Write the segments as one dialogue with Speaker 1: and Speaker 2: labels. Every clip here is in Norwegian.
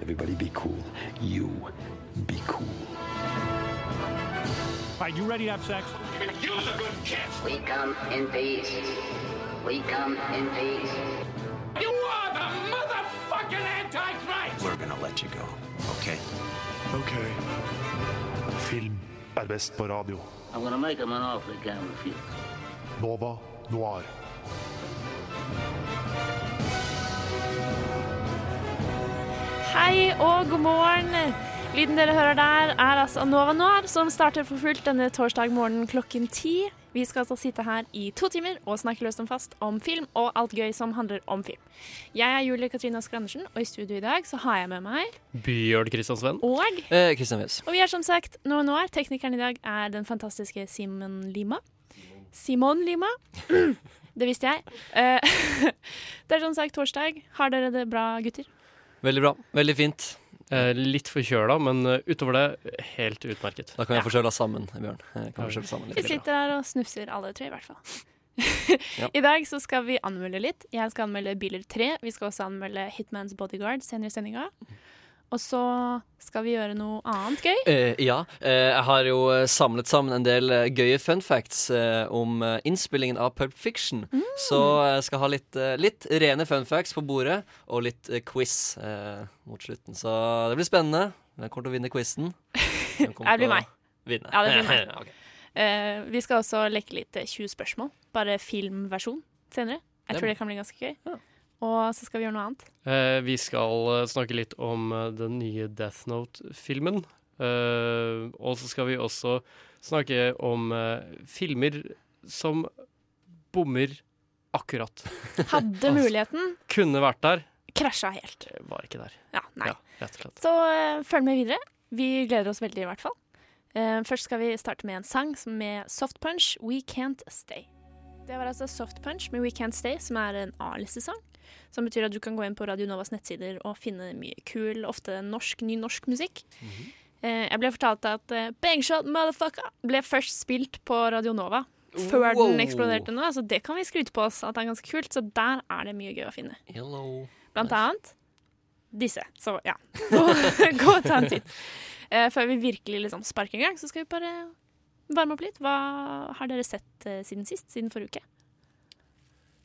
Speaker 1: everybody be cool. You be cool.
Speaker 2: All right, you ready to have sex?
Speaker 3: We come in peace. We come in peace.
Speaker 4: You are the motherfucking Antichrist!
Speaker 5: We're gonna let you go, okay?
Speaker 6: Film er best på radio.
Speaker 3: I'm gonna make him an offer he can't refuse.
Speaker 6: Nova Noir.
Speaker 7: Hei og god morgen! Lyden dere hører der, er altså Nova Noir, som starter for fullt denne torsdag morgen klokken ti. Vi skal altså sitte her i to timer og snakke løst om fast om film og alt gøy som handler om film. Jeg er Julie Katrine Oskar Andersen, og i studio i dag så har jeg med meg
Speaker 8: Bjørn Kristiansen.
Speaker 7: og
Speaker 8: Eh, Kristian Wess.
Speaker 7: Og vi er som sagt Nova Noir. Teknikeren i dag er den fantastiske Simon Lima. Simon Lima. Det visste jeg. Eh, Det er som sagt torsdag. Har dere det bra, gutter?
Speaker 8: Veldig bra. Veldig fint. Eh, litt forkjøla, men eh, utover det helt utmerket.
Speaker 5: Da kan vi forkjøle oss sammen, Bjørn. Eh, Kan vi forkjøle oss sammen
Speaker 7: Vi
Speaker 5: litt.
Speaker 7: sitter her og snufser alle tre, i hvert fall. I dag så skal vi anmelde litt. Jeg skal anmelde Biler 3. Vi skal også anmelde Hitman's Bodyguard senere i sendinga. Og så skal vi gjøre noe annet gøy.
Speaker 5: Eh, ja. Eh, jeg har jo eh, samlet sammen en del eh, gøye fun facts eh, om eh, innspillingen av Pulp Fiction.
Speaker 7: Mm.
Speaker 5: Så jeg skal ha litt, eh, litt rene fun facts på bordet, og litt eh, quiz eh, mot slutten. Så det blir spennende. Hvem kommer til å vinne quizen?
Speaker 7: Ja, det blir meg.
Speaker 5: Vinne.
Speaker 7: Ja, det blir meg.
Speaker 5: Ok.
Speaker 7: Eh, vi skal også leke litt eh, 20 spørsmål. Bare filmversjon senere. Jeg
Speaker 5: Det
Speaker 7: tror
Speaker 5: blir-
Speaker 7: det kan bli ganske gøy.
Speaker 5: Ja.
Speaker 7: Og så skal vi gjøre noe annet.
Speaker 8: Eh, vi skal eh, snakke litt om eh, den nye Death Note-filmen. Eh, og så skal vi også snakke om eh, filmer som bommer akkurat.
Speaker 7: Hadde muligheten,
Speaker 8: Kunne vært der,
Speaker 7: krasja helt.
Speaker 8: eh, var ikke der.
Speaker 7: Ja, nei.
Speaker 8: Ja, rett og slett.
Speaker 7: Så eh, følg med videre. Vi gleder oss veldig, i hvert fall. Eh, først skal vi starte med en sang som med Soft Punch, We Can't Stay. Det var altså Soft Punch med We Can't Stay, som er en A-listesang. Som betyr at du kan gå inn på Radio Novas nettsider og finne mye kul, ofte norsk, ny norsk musikk. Eh, jeg ble fortalt at eh, Bangshot Motherfucker ble først spilt på Radio Nova. Før
Speaker 5: Wow.
Speaker 7: den eksploderte nå, så det kan vi skryte på oss at det er ganske kult. Så der er det mye gøy å finne.
Speaker 5: Hello.
Speaker 7: Blant annet disse. Så ja, gå, gå og ta en titt. Eh, før vi virkelig liksom sparker i gang, så skal vi bare varme opp litt. Hva har dere sett eh, siden sist? Siden forrige uke?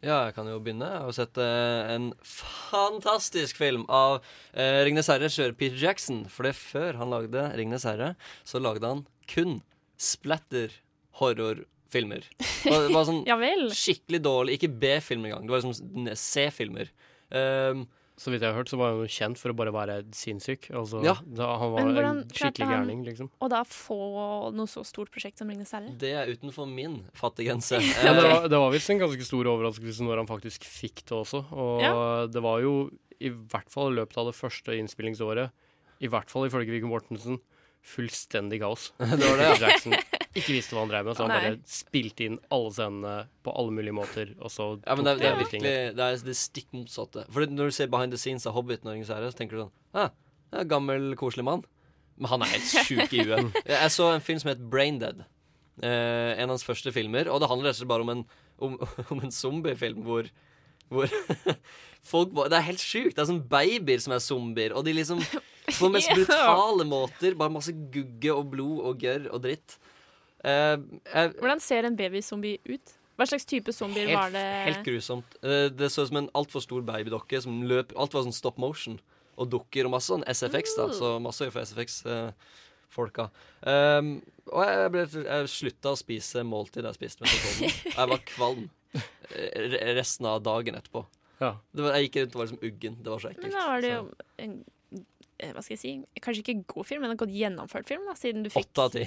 Speaker 5: Ja, jeg kan jo begynne. Jeg har jo sett eh, en fantastisk film av eh, Ringnes Herre kjører Peter Jackson. For det er før han lagde Ringnes Herre, så lagde han kun splatter horrorfilmer. Det var, det var sånn
Speaker 7: Ja vel?
Speaker 5: skikkelig dårlig, ikke B-film engang. Det var liksom C-filmer. Um,
Speaker 8: Så vidt jeg har hørt, så var han jo kjent for å bare være sinnssyk. Altså,
Speaker 5: Ja.
Speaker 8: da, han var
Speaker 7: Men
Speaker 8: en
Speaker 7: hvordan klarte
Speaker 8: skikkelig
Speaker 7: han-
Speaker 8: gærning, liksom.
Speaker 7: Og da få noe så stort prosjekt som Ringenes herre?
Speaker 5: det er utenfor min fattiggrense.
Speaker 8: Men det
Speaker 5: Eh,
Speaker 8: var, det var visst en ganske stor overraskelse når han faktisk fikk det også. Og det var jo, i hvert fall i løpet av det første innspillingsåret, i hvert fall ifølge Viggo Mortensen, fullstendig kaos.
Speaker 5: Eh, det var det, ja.
Speaker 8: Jackson ikke visste hva han drev med, så han
Speaker 7: Nei.
Speaker 8: bare spilte inn alle scenene på alle mulige måter, og så
Speaker 5: Ja, men det er,
Speaker 8: tok
Speaker 5: det er
Speaker 8: virkelig
Speaker 5: virkelig det, er det stikk motsatte. For det- når du ser behind the scenes av Hobbiten og Ringenes herre, så tenker du sånn ah, det er en Gammel, koselig mann. Men han er helt sjuk i huet. Jeg jeg så en film som het Brain Dead. Eh, en av hans første filmer. Og det handler rett og slett bare om en, om, om en zombiefilm hvor, hvor folk bare Det er helt sjukt. Det er sånn babyer som er zombier. Og de liksom på de mest
Speaker 7: Ja.
Speaker 5: brutale måter. Bare masse gugge og blod og gørr og dritt. Eh, jeg,
Speaker 7: Hvordan ser en babyzombie ut? Hva slags type zombier var det?
Speaker 5: helt grusomt. Eh, Det så ut som en altfor stor babydokke som løp Alt var sånn stop motion. Og dukker og masse sånn SFX, da. Så masse øye for SFX-folka. eh, Ehm, og jeg, ble, jeg slutta å spise måltid jeg spiste med sånn. Jeg var kvalm eh, re- resten av dagen etterpå.
Speaker 8: Ja.
Speaker 5: Det var, jeg gikk rundt og var liksom uggen. Det var så ekkelt.
Speaker 7: Men da var det jo
Speaker 5: Så,
Speaker 7: en, eh, hva skal jeg si, kanskje ikke god film, men en godt gjennomført film, da, siden du fikk
Speaker 5: Åtte av ti.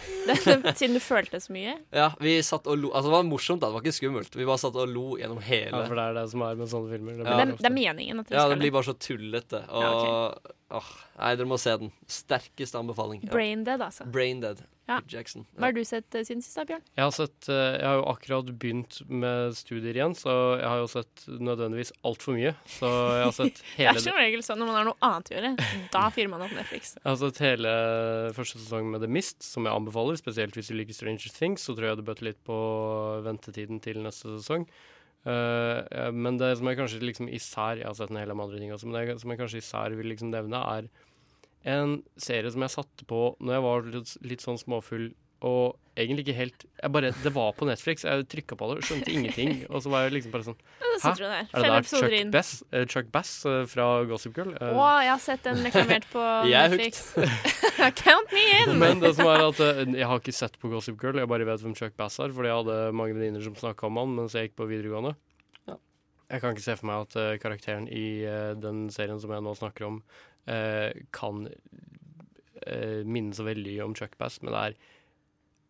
Speaker 7: Siden du følte så mye.
Speaker 5: Ja, vi satt og lo. Altså, det var morsomt, da. Det var ikke skummelt. Vi bare satt og lo gjennom
Speaker 8: Ja,
Speaker 5: hele.
Speaker 8: for det er det som er med sånne filmer. Det
Speaker 5: Ja.
Speaker 8: blir
Speaker 7: det, det er meningen at du
Speaker 5: Ja,
Speaker 7: skal
Speaker 5: det blir bare så tullete. Og,
Speaker 7: Ja,
Speaker 5: åh, nei, dere må se den. Sterkeste anbefaling. Ja.
Speaker 7: Brain dead, altså.
Speaker 5: Brain Dead.
Speaker 7: Ja.
Speaker 5: Jackson.
Speaker 7: Hva har du sett eh, siden sist, da, Bjørn?
Speaker 8: Jeg har, sett, eh, jeg har jo akkurat begynt med studier igjen, så jeg har jo sett nødvendigvis altfor mye. Så jeg har sett
Speaker 7: Det er
Speaker 8: hele
Speaker 7: som regel sånn når man har noe annet å gjøre. Da fyrer man opp Netflix.
Speaker 8: Jeg har sett Altså, hele første sesong med The Mist, som jeg anbefaler. Spesielt hvis du liker Stranger Things, så tror jeg det bøter litt på ventetiden til neste sesong. Eh, eh, men det som jeg kanskje liksom især Jeg har sett en hel del andre ting også, men det som jeg kanskje især vil liksom nevne, er en serie som jeg satte på når jeg var litt, litt sånn småfull, og egentlig ikke helt jeg bare, Det var på Netflix, jeg trykka på det, skjønte ingenting. Og så var jeg liksom bare sånn
Speaker 7: Det
Speaker 8: Hæ?
Speaker 7: sitter hun der.
Speaker 8: Er det
Speaker 7: Fem
Speaker 8: der
Speaker 7: episoder
Speaker 8: Chuck
Speaker 7: inn.
Speaker 8: Bass, eh, Chuck Bass eh, fra Gossip Girl? Eh,
Speaker 7: Å, jeg har sett den reklamert på
Speaker 5: Jeg er
Speaker 7: Netflix. Count me in!
Speaker 8: Men det som er at eh, jeg har ikke sett på Gossip Girl, jeg bare vet hvem Chuck Bass er, fordi jeg hadde mange venninner som snakka om han mens jeg gikk på videregående.
Speaker 5: Ja.
Speaker 8: Jeg kan ikke se for meg at eh, karakteren i eh, den serien som jeg nå snakker om, eh, kan eh, minne så veldig om Chuck Bass, men det er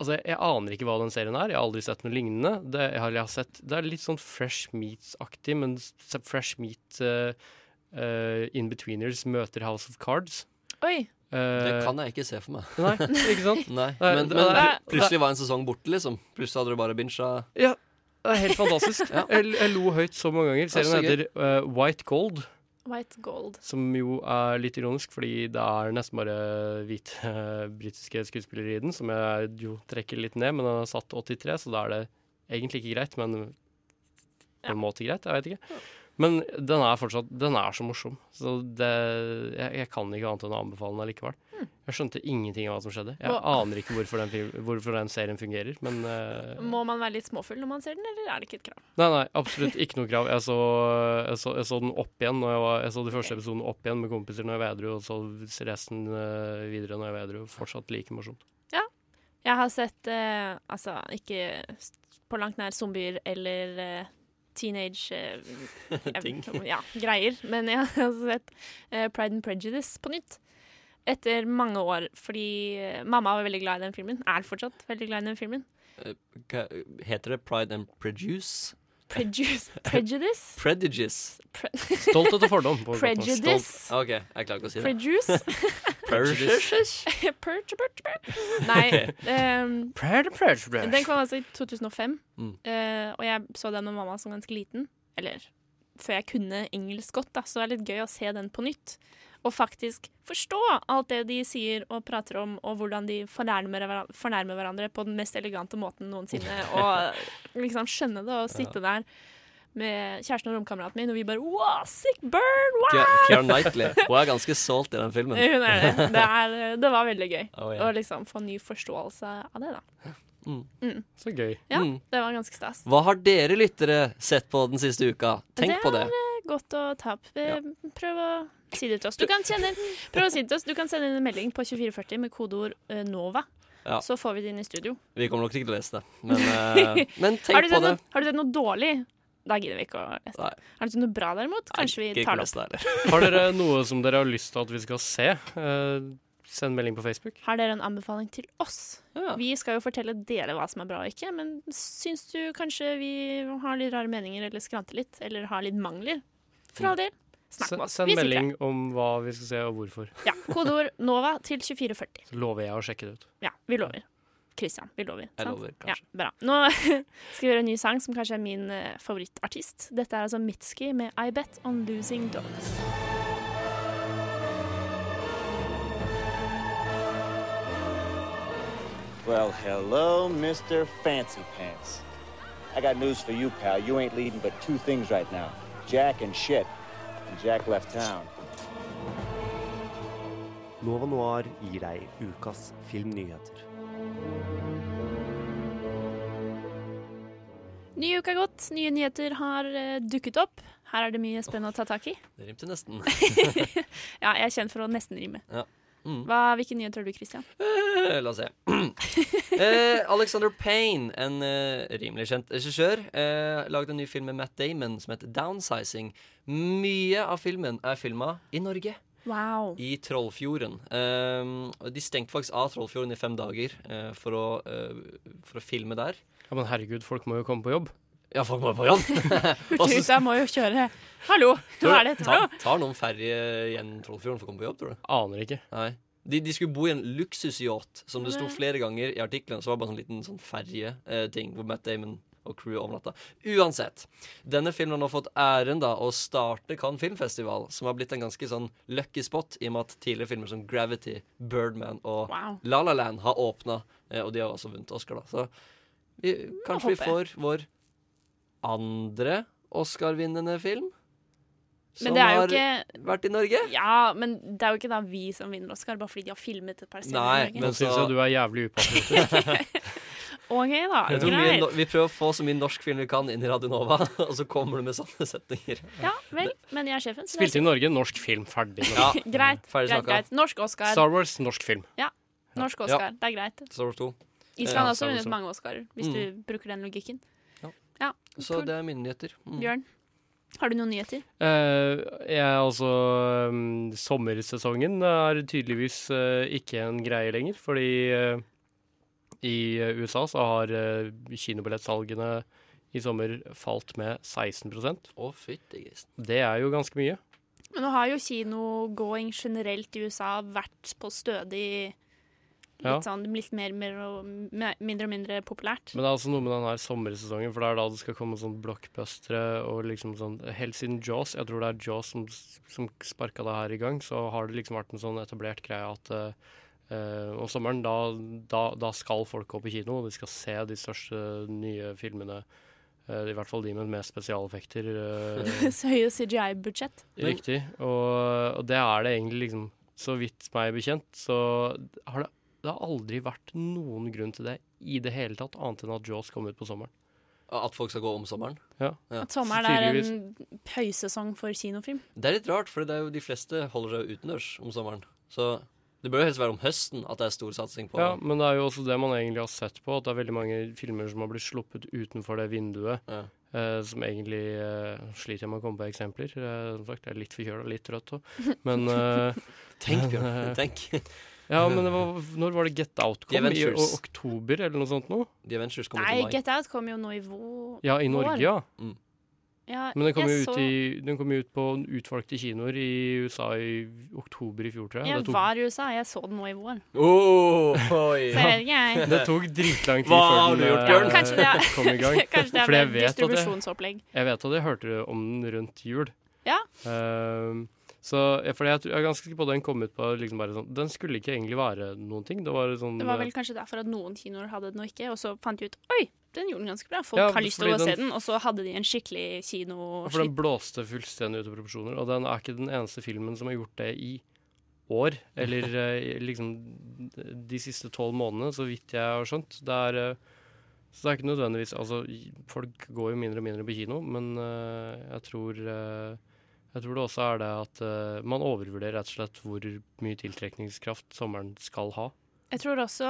Speaker 8: Altså, jeg, jeg aner ikke hva den serien er. Jeg har aldri sett noe lignende. Det, jeg har, jeg har sett, det er litt sånn Fresh Meats-aktig, men s- Fresh Meat eh, eh, In-Betweeners møter House of Cards.
Speaker 7: Oi.
Speaker 5: Det
Speaker 8: Eh,
Speaker 5: kan jeg ikke se for meg.
Speaker 8: Nei, ikke sant?
Speaker 5: Nei,
Speaker 8: Nei,
Speaker 5: men,
Speaker 8: det-
Speaker 5: men
Speaker 8: det-
Speaker 5: pl- plutselig var en sesong borte, liksom. Plutselig hadde du bare bincha
Speaker 8: Ja, det er helt fantastisk.
Speaker 5: Ja.
Speaker 8: jeg, jeg lo høyt så mange ganger.
Speaker 5: Ja,
Speaker 8: Serien
Speaker 5: så
Speaker 8: heter eh, White Gold,
Speaker 7: White gold.
Speaker 8: som jo er litt ironisk, fordi det er nesten bare hvite eh, britiske skuespillere i den, som jeg jo trekker litt ned, men den er satt 83, så da er det egentlig ikke greit, men
Speaker 7: Ja.
Speaker 8: på en måte greit, jeg vet ikke. Men den er fortsatt Den er så morsom, så det, jeg, jeg kan ikke annet enn å anbefale den allikevel. Jeg skjønte ingenting av Hmm. hva som skjedde. Jeg
Speaker 7: Hva-
Speaker 8: aner ikke hvorfor den, film- hvorfor den serien fungerer, men eh,
Speaker 7: Må man være litt småfull når man ser den, eller er det ikke et krav?
Speaker 8: Nei, nei, absolutt ikke noe krav. Jeg så, jeg så, jeg så den opp igjen når jeg, var, jeg så de første episoden opp igjen med kompiser når jeg var edru, og så resten eh, videre når jeg var edru. Fortsatt like morsomt.
Speaker 7: Jeg har sett eh, altså ikke s- på langt nær zombier eller eh, teenage eh, jeg-
Speaker 5: ting.
Speaker 7: Ja, greier. Men jeg har sett eh, Pride and Prejudice på nytt. Etter mange år, fordi eh, mamma var veldig glad i den filmen. Er fortsatt veldig glad i den filmen.
Speaker 5: Hva heter det Pride and Prejudice?
Speaker 7: Prejudice? Prejudice?
Speaker 5: Prejudice.
Speaker 7: Pre
Speaker 8: Stolthet og fordom. På godt norsk.
Speaker 7: prejudice?
Speaker 5: OK, jeg klarer ikke å si det.
Speaker 7: Prejuice?
Speaker 5: Prejudice.
Speaker 7: Per- per- per- Nei. ehm,
Speaker 8: Pride and prejudice.
Speaker 7: den kom altså i 2005,
Speaker 5: Mm.
Speaker 7: eh, og jeg så den med mamma som ganske liten. Eller før jeg kunne engelsk godt, da, så det er litt gøy å se den på nytt. Og faktisk forstå alt det de sier og prater om, og hvordan de fornærmer, hver- fornærmer hverandre på den mest elegante måten noensinne. Og liksom skjønne det og sitte der med kjæresten og romkameraten min, og vi bare Wow, sick burn! Wow!
Speaker 5: Keira Knightley. Hun er ganske solgt i den filmen.
Speaker 7: Hun er det. Det, er, eh, det var veldig gøy
Speaker 5: Å, Oh, ja.
Speaker 7: å liksom få ny forståelse av det, da.
Speaker 8: Så gøy.
Speaker 7: Ja,
Speaker 5: Mm.
Speaker 7: Det var ganske stas.
Speaker 5: Hva har dere lyttere sett på den siste uka? Tenk på det.
Speaker 7: Det eh, er godt å ta opp. Eh, Prøv å si det til oss. Du kan, sende, prøv å si det til oss. du kan sende inn en melding på 2440 med kodeord eh, NOVA.
Speaker 5: Ja.
Speaker 7: Så får vi det inn i studio.
Speaker 5: Vi kommer nok ikke til å lese det, men, eh, men
Speaker 7: Har du,
Speaker 5: tenk på
Speaker 7: sett
Speaker 5: det.
Speaker 7: noe, har du sett noe dårlig? Da gidder vi ikke å lese det.
Speaker 5: Nei.
Speaker 7: Har du sett noe bra, derimot? Kanskje vi
Speaker 5: Ikke
Speaker 7: tar det
Speaker 5: lese
Speaker 7: opp.
Speaker 5: det heller.
Speaker 8: Har dere noe som dere har lyst til at vi skal se? Eh, send melding på Facebook.
Speaker 7: Har dere en anbefaling til oss?
Speaker 5: Ja.
Speaker 7: Vi skal jo fortelle dere hva som er bra og ikke, men syns du kanskje vi har litt rare meninger, eller skranter litt, eller har litt mangler? For
Speaker 5: Mm.
Speaker 7: all del, snakk med
Speaker 8: Send,
Speaker 7: oss.
Speaker 8: send
Speaker 7: Vi sier
Speaker 8: melding om hva vi skal se, og hvorfor.
Speaker 7: fra. Ja, Kodeord NOVA til 2440.
Speaker 8: Så lover jeg å sjekke det ut.
Speaker 7: Ja, vi lover. Christian, vi lover.
Speaker 5: Jeg
Speaker 7: sant?
Speaker 5: lover,
Speaker 7: Ja,
Speaker 5: kanskje.
Speaker 7: bra. Nå skal vi gjøre en ny sang som kanskje er min eh, favorittartist. Dette er altså Mitski med I Bet On Losing Dogs.
Speaker 9: Well, hello, Mr. Fancy Pants. I got news for you, pal. You ain't leading but two things right now Jack and shit. And Jack left town.
Speaker 10: Nova Noir gir deg ukas filmnyheter.
Speaker 7: Ny uke har gått, nye nyheter har eh, dukket opp. Her er det mye spennende å ta tak i.
Speaker 5: Det rimte nesten.
Speaker 7: Ja, jeg er kjent for å nesten rime.
Speaker 5: Ja. Mm.
Speaker 7: Hva, hvilke nyheter har du, Christian?
Speaker 5: Eh, La oss se. eh, Alexander Payne, en eh, rimelig kjent regissør, eh, lagde en ny film med Matt Damon som heter Downsizing. Mye av filmen er filma i Norge,
Speaker 7: Wow.
Speaker 5: i Trollfjorden. Eh, og de stengte faktisk av Trollfjorden i fem dager eh, for, å, eh, for å filme der.
Speaker 8: Ja, Men herregud, folk må jo komme på jobb.
Speaker 5: Ja, folk må jo på jobb!
Speaker 7: Hurtighuset
Speaker 5: altså-
Speaker 7: må jo kjøre. Hallo, hva er dette for
Speaker 5: Tar,
Speaker 7: noe?
Speaker 5: tar noen ferje gjennom Trollfjorden for å komme på jobb, tror du?
Speaker 8: Aner ikke.
Speaker 5: Nei. De, de skulle bo i en luksusyacht, som det sto
Speaker 7: Men-
Speaker 5: flere ganger i artiklene. Så var det bare en sånn liten sånn ferjeting hvor Matt Damon og crew overnatta. Uansett. Denne filmen har nå fått æren da å starte Cannes Filmfestival, som har blitt en ganske sånn lucky spot, i og med at tidligere filmer som Gravity, Birdman og
Speaker 7: Wow.
Speaker 5: La La Land har åpna, og de har også vunnet Oscar, da. Så vi, kanskje vi
Speaker 7: håper
Speaker 5: får vår andre Oscar-vinnende film?
Speaker 7: Men det er jo
Speaker 5: har
Speaker 7: ikke
Speaker 5: vært i Norge.
Speaker 7: Ja, men det er jo ikke da vi som vinner Oscar, bare fordi de har filmet et par scener. i
Speaker 5: Nei,
Speaker 7: Norge.
Speaker 5: men
Speaker 8: Nå syns
Speaker 5: så-
Speaker 8: jeg du er jævlig upassende.
Speaker 7: OK, da.
Speaker 5: Jeg tror mye,
Speaker 7: Greit.
Speaker 5: no- vi prøver å få så mye norsk film vi kan inn i Radio Nova, og så kommer du med sånne setninger.
Speaker 7: Ja vel, men jeg er sjefen. så det er
Speaker 8: Spilte i Norge, norsk film, ferdig.
Speaker 5: Ja,
Speaker 7: sikkert- Greit.
Speaker 5: Ferdig
Speaker 7: greit,
Speaker 5: snakka.
Speaker 7: greit. Norsk Oscar.
Speaker 8: Star Wars, norsk film.
Speaker 7: Norsk Oscar, Det er greit.
Speaker 5: Star Wars 2.
Speaker 7: Island har også
Speaker 8: Star Wars
Speaker 7: vunnet
Speaker 8: også.
Speaker 7: mange Oscarer, hvis
Speaker 5: Mm.
Speaker 7: du bruker den logikken.
Speaker 5: Ja.
Speaker 7: Ja,
Speaker 5: Så
Speaker 7: cool.
Speaker 5: det er mine nyheter. Mm.
Speaker 7: Bjørn, har du noen nyheter?
Speaker 8: Eh, jeg er altså mm, Sommersesongen er tydeligvis eh, ikke en greie lenger, fordi eh, i eh, USA så har uh, kinobillettsalgene i sommer falt med 16
Speaker 5: Å, fytti grisen.
Speaker 8: Det er jo ganske mye.
Speaker 7: Men nå har jo kinogåing generelt i USA vært på stødig
Speaker 8: Ja.
Speaker 7: Litt sånn, litt mer, mer og me- mindre og mindre populært.
Speaker 8: Men det er altså noe med den her sommersesongen, for det er da det skal komme sånn blockbustere og liksom sånn Helt siden Jaws, jeg tror det er Jaws som, som sparka det her i gang, så har det liksom vært en sånn etablert greie at eh, eh, om sommeren, da, da, da skal folk gå på kino, og de skal se de største nye filmene. eh, I hvert fall de med mest spesialeffekter. eh,
Speaker 7: Så høye CGI-budsjett.
Speaker 8: Riktig. Og, og det er det egentlig, liksom, så vidt meg bekjent, så har det, det har aldri vært noen grunn til det i det hele tatt, annet enn at Jaws kom ut på sommeren.
Speaker 5: At folk skal gå om sommeren. Ja,
Speaker 7: At sommeren
Speaker 8: så
Speaker 7: er en høysesong for kinofilm.
Speaker 5: Det er litt rart, for det er jo de fleste holder seg utendørs om sommeren. Så det bør jo helst være om høsten at det er stor satsing på
Speaker 8: Ja, men det er jo også det man egentlig har sett på, at det er veldig mange filmer som har blitt sluppet utenfor det vinduet,
Speaker 5: Ja.
Speaker 8: eh, som egentlig eh, sliter jeg med å komme på eksempler. Eh, som sagt, jeg er litt forkjøla, litt trøtt òg, men eh,
Speaker 5: Tenk, Bjørn. Tenk.
Speaker 8: Ja, men det var, når var det Get Out
Speaker 5: The
Speaker 8: kom? I
Speaker 5: Avengers.
Speaker 8: o- oktober, eller noe sånt noe?
Speaker 5: The Avengers kommer
Speaker 7: Nei,
Speaker 5: til mai.
Speaker 7: Get Out kom jo nå i vår.
Speaker 8: Ja, i Norge, ja.
Speaker 7: Ja,
Speaker 8: Men den kom,
Speaker 7: jeg
Speaker 8: jo ut
Speaker 7: så-
Speaker 8: i, den kom jo ut på utvalgte kinoer i USA i oktober i fjor, tror jeg.
Speaker 7: Jeg
Speaker 8: Det tok,
Speaker 7: var i USA, jeg så den nå i vår.
Speaker 5: Åh, Oh, oi.
Speaker 7: Så jeg vet ikke, jeg.
Speaker 8: det tok dritlang tid
Speaker 5: Hva har
Speaker 8: før
Speaker 5: du
Speaker 8: den
Speaker 5: gjort,
Speaker 8: eh,
Speaker 5: Bjørn?
Speaker 7: Kanskje det er-
Speaker 8: kom i gang.
Speaker 7: Kanskje det er
Speaker 8: Fordi jeg
Speaker 7: mer
Speaker 8: vet at det-
Speaker 7: distribusjonsopplegg.
Speaker 8: Jeg vet at jeg hørte om den rundt jul.
Speaker 7: Ja.
Speaker 8: Ehm, så, ja, fordi jeg, tror- jeg er ganske sikker på at den kom ut på liksom bare sånn Den skulle ikke egentlig være noen ting. Det var sånn
Speaker 7: Det var vel kanskje derfor at noen kinoer hadde den og ikke, og så fant de ut Oi, den gjorde den ganske bra. Folk
Speaker 8: Ja,
Speaker 7: har lyst til å gå
Speaker 8: fordi
Speaker 7: og se
Speaker 8: den-
Speaker 7: den, og så hadde de en skikkelig
Speaker 8: eh, For den
Speaker 7: kinoskitt.
Speaker 8: blåste fullstendig ut av proporsjoner, og den er ikke den eneste filmen som har gjort det i år, eller eh, liksom de siste tolv månedene, så vidt jeg har skjønt. Det er eh, Så det er ikke nødvendigvis Altså, i- folk går jo mindre og mindre på kino, men eh, jeg tror eh, Jeg tror det også er det at eh, man overvurderer rett og slett hvor mye tiltrekningskraft sommeren skal ha.
Speaker 7: Jeg tror også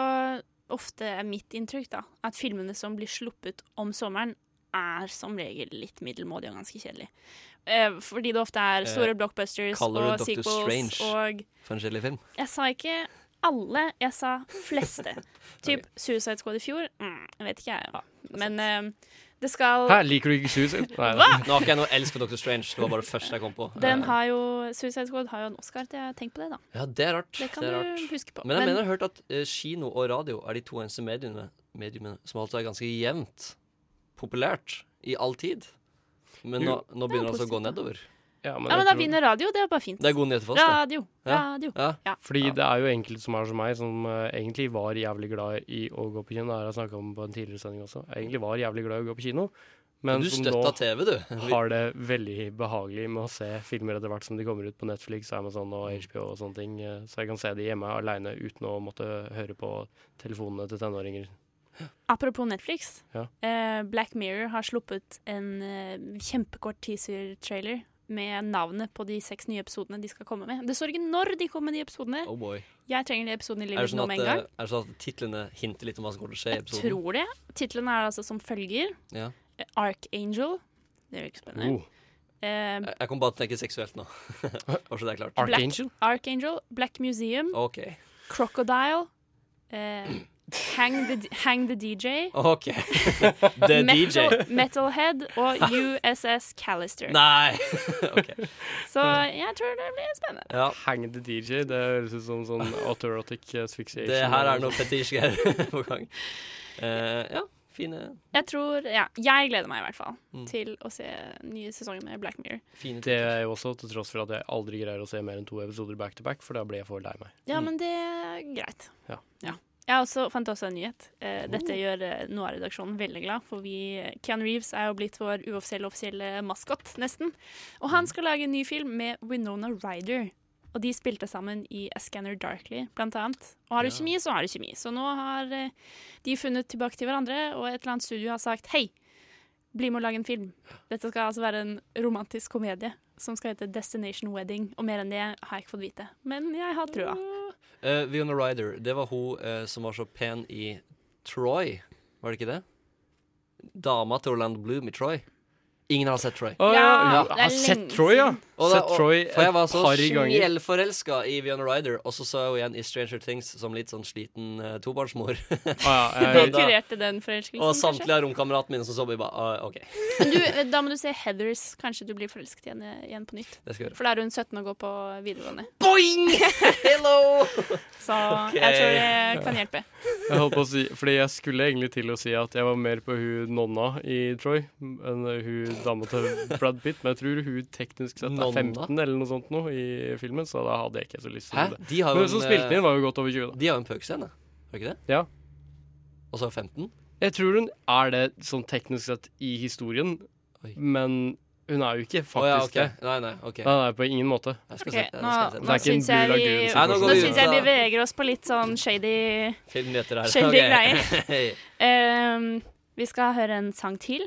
Speaker 7: ofte er mitt inntrykk da, at filmene som blir sluppet om sommeren, er som regel litt middelmådige og ganske kjedelige. Eh, fordi det ofte er store
Speaker 5: Eh,
Speaker 7: blockbusters
Speaker 5: kaller du
Speaker 7: og
Speaker 5: Dr.
Speaker 7: sequels
Speaker 5: Strange?
Speaker 7: og
Speaker 5: For en kjedelig film.
Speaker 7: Jeg sa ikke alle, jeg sa fleste. Typ Suicide Squad i fjor. Mm, jeg vet ikke, jeg. Men eh, det skal
Speaker 8: Hæ, liker du ikke Suicide? Nei,
Speaker 7: Hva?
Speaker 5: Nå har ikke jeg noe elsk for Dr. Strange. Det var bare det første jeg kom på.
Speaker 7: Den
Speaker 5: Eh,
Speaker 7: har jo, Suicide Squad har jo en Oscar, det har jeg tenkt på det, da.
Speaker 5: Ja, det er rart.
Speaker 7: Det kan
Speaker 5: er
Speaker 7: du
Speaker 5: rart.
Speaker 7: huske på.
Speaker 5: Men jeg mener jeg har hørt at eh, kino og radio er de to eneste mediene, mediene som altså er ganske jevnt populært i all tid. Men nå,
Speaker 8: Jo.
Speaker 7: Det
Speaker 5: nå
Speaker 7: er
Speaker 5: begynner det altså å gå
Speaker 7: positivt, da.
Speaker 5: nedover.
Speaker 8: ja, men
Speaker 7: ja,
Speaker 8: jeg
Speaker 7: men da
Speaker 8: tror-
Speaker 7: vinner radio, det er bare fint.
Speaker 5: Det er gode nyheter for oss, det.
Speaker 7: Radio,
Speaker 5: Ja.
Speaker 7: radio.
Speaker 5: Ja.
Speaker 8: Fordi
Speaker 7: Ja.
Speaker 8: det er jo enkelte som er som meg, som eh, egentlig var jævlig glad i å gå på kino. Det har jeg snakka om på en tidligere sending også. Jeg egentlig var jævlig glad i å gå på kino, men
Speaker 5: Du
Speaker 8: som nå
Speaker 5: støtta TV, du.
Speaker 8: har det veldig behagelig med å se filmer etter hvert som de kommer ut på Netflix Amazon og HBO og sånne ting. eh, Så jeg kan se de hjemme aleine uten å måtte høre på telefonene til tenåringer.
Speaker 7: Apropos Netflix.
Speaker 8: Ja.
Speaker 7: eh, Black Mirror har sluppet en eh, kjempekort teaser-trailer med navnet på de seks nye episodene de skal komme med. Det står ikke når de kommer med de episodene.
Speaker 5: Oh boy.
Speaker 7: Jeg trenger de episodene i
Speaker 5: Er det
Speaker 7: livet
Speaker 5: sånn
Speaker 7: nå
Speaker 5: at,
Speaker 7: med en
Speaker 5: eh,
Speaker 7: gang.
Speaker 5: er det sånn at titlene hinter litt om hva som kommer til å skje i
Speaker 7: Jeg
Speaker 5: episoden?
Speaker 7: tror det. Titlene er altså som følger.
Speaker 5: Ja.
Speaker 7: Eh, Archangel. Det er jo ikke spennende.
Speaker 8: Oh,
Speaker 7: Eh,
Speaker 5: Jeg, jeg kom bare til å tenke seksuelt nå. Bare så det er klart.
Speaker 8: Archangel?
Speaker 7: Archangel, Black Museum,
Speaker 5: OK.
Speaker 7: Crocodile, eh, hang, the, hang the DJ.
Speaker 5: OK. The DJ.
Speaker 7: Metal, Metalhead og USS Callister.
Speaker 5: Nei! OK.
Speaker 7: Så jeg tror det blir spennende.
Speaker 5: Ja.
Speaker 8: Hang the DJ, det høres ut som sånn autoerotic asphyxiation.
Speaker 5: Det her er noe fetisj-greier på gang. Eh, ja, fine,
Speaker 7: Jeg tror, ja, jeg gleder meg i hvert fall
Speaker 5: Mm.
Speaker 7: til å se nye sesonger med Black Mirror.
Speaker 5: fine
Speaker 8: Det er jo også til tross for at jeg aldri greier å se mer enn to episoder back to back, for da blir jeg for lei meg.
Speaker 7: Ja,
Speaker 5: Mm.
Speaker 7: men det er greit.
Speaker 8: Ja.
Speaker 7: Jeg også, fant også en nyhet. Eh, dette gjør eh, noe av redaksjonen veldig glad, for vi, Keanu Reeves er jo blitt vår uoffisielle offisielle maskot, nesten. Og han skal lage en ny film med Winona Ryder. Og de spilte sammen i A Scanner Darkly, blant annet. Og har du kjemi, så har du kjemi. Så nå har eh, de funnet tilbake til hverandre, og et eller annet studio har sagt hei, bli med og lage en film. Dette skal altså være en romantisk komedie som skal hete Destination Wedding, og mer enn det har jeg ikke fått vite. Men jeg har trua.
Speaker 5: Eh, Viona Ryder, det var hun eh, som var så pen i Troy, var det ikke det? Dama til Orlando Bloom i Troy. Ingen har sett Troy.
Speaker 8: Å
Speaker 7: Ja, det
Speaker 8: ja,
Speaker 7: er
Speaker 8: Jeg har sett
Speaker 7: lenge
Speaker 8: Troy, ja.
Speaker 5: Og da-
Speaker 8: Sett
Speaker 5: og-
Speaker 8: Troy
Speaker 5: for jeg var
Speaker 8: et
Speaker 5: så
Speaker 8: par ganger.
Speaker 5: sjelforelska i Viona Ryder, og så så jeg henne igjen i Stranger Things som litt sånn sliten eh, tobarnsmor.
Speaker 8: Ah, ja,
Speaker 7: Det
Speaker 8: jeg,
Speaker 5: da-
Speaker 7: kurerte den
Speaker 5: og
Speaker 7: forelskelsen, kanskje?
Speaker 5: samtlige av romkameratene mine som så på, bare ah, OK,
Speaker 7: Men du, eh, da må du se Heathers. Kanskje du blir forelsket igjen, eh, igjen på nytt.
Speaker 5: det skal jeg gjøre.
Speaker 7: For da er hun 17 og går på videregående.
Speaker 5: Boing! Hello!
Speaker 7: Så jeg tror det kan hjelpe.
Speaker 8: jeg holdt på å si Fordi jeg skulle egentlig til å si at jeg var mer på hun nonna i Troy enn hun dama til Brad Pitt, men jeg tror hun teknisk sett
Speaker 5: Nonna?
Speaker 8: er 15 eller noe sånt nå i filmen, så da hadde jeg ikke så lyst
Speaker 5: Hæ?
Speaker 8: til det.
Speaker 5: De har
Speaker 8: Men
Speaker 5: jo
Speaker 8: hun som
Speaker 5: en,
Speaker 8: spilte den
Speaker 5: eh,
Speaker 8: inn, var jo godt over 20, da.
Speaker 5: de har jo en pøkescene, har de ikke det?
Speaker 8: Ja.
Speaker 5: Og så 15?
Speaker 8: Jeg tror hun er det sånn teknisk sett i historien,
Speaker 5: Oi.
Speaker 8: men hun er jo ikke
Speaker 5: Å ja, OK.
Speaker 8: faktisk det.
Speaker 5: Nei, nei, OK.
Speaker 8: Nei, nei, på ingen måte.
Speaker 5: Jeg skal
Speaker 7: Ok,
Speaker 5: se det.
Speaker 7: nå,
Speaker 5: Jeg
Speaker 7: nå
Speaker 5: skal se det.
Speaker 8: ikke en
Speaker 7: syns jeg
Speaker 8: Blue
Speaker 7: vi,
Speaker 8: Lagoon-situasjon.
Speaker 5: Nei, nå går
Speaker 7: nå
Speaker 5: vi
Speaker 7: synes
Speaker 5: ut
Speaker 7: jeg vi
Speaker 5: av-
Speaker 7: beveger oss på litt sånn shady
Speaker 5: Filmnyheter her.
Speaker 7: Skjellig
Speaker 5: Ok.
Speaker 7: Ehm, Vi skal høre en sang til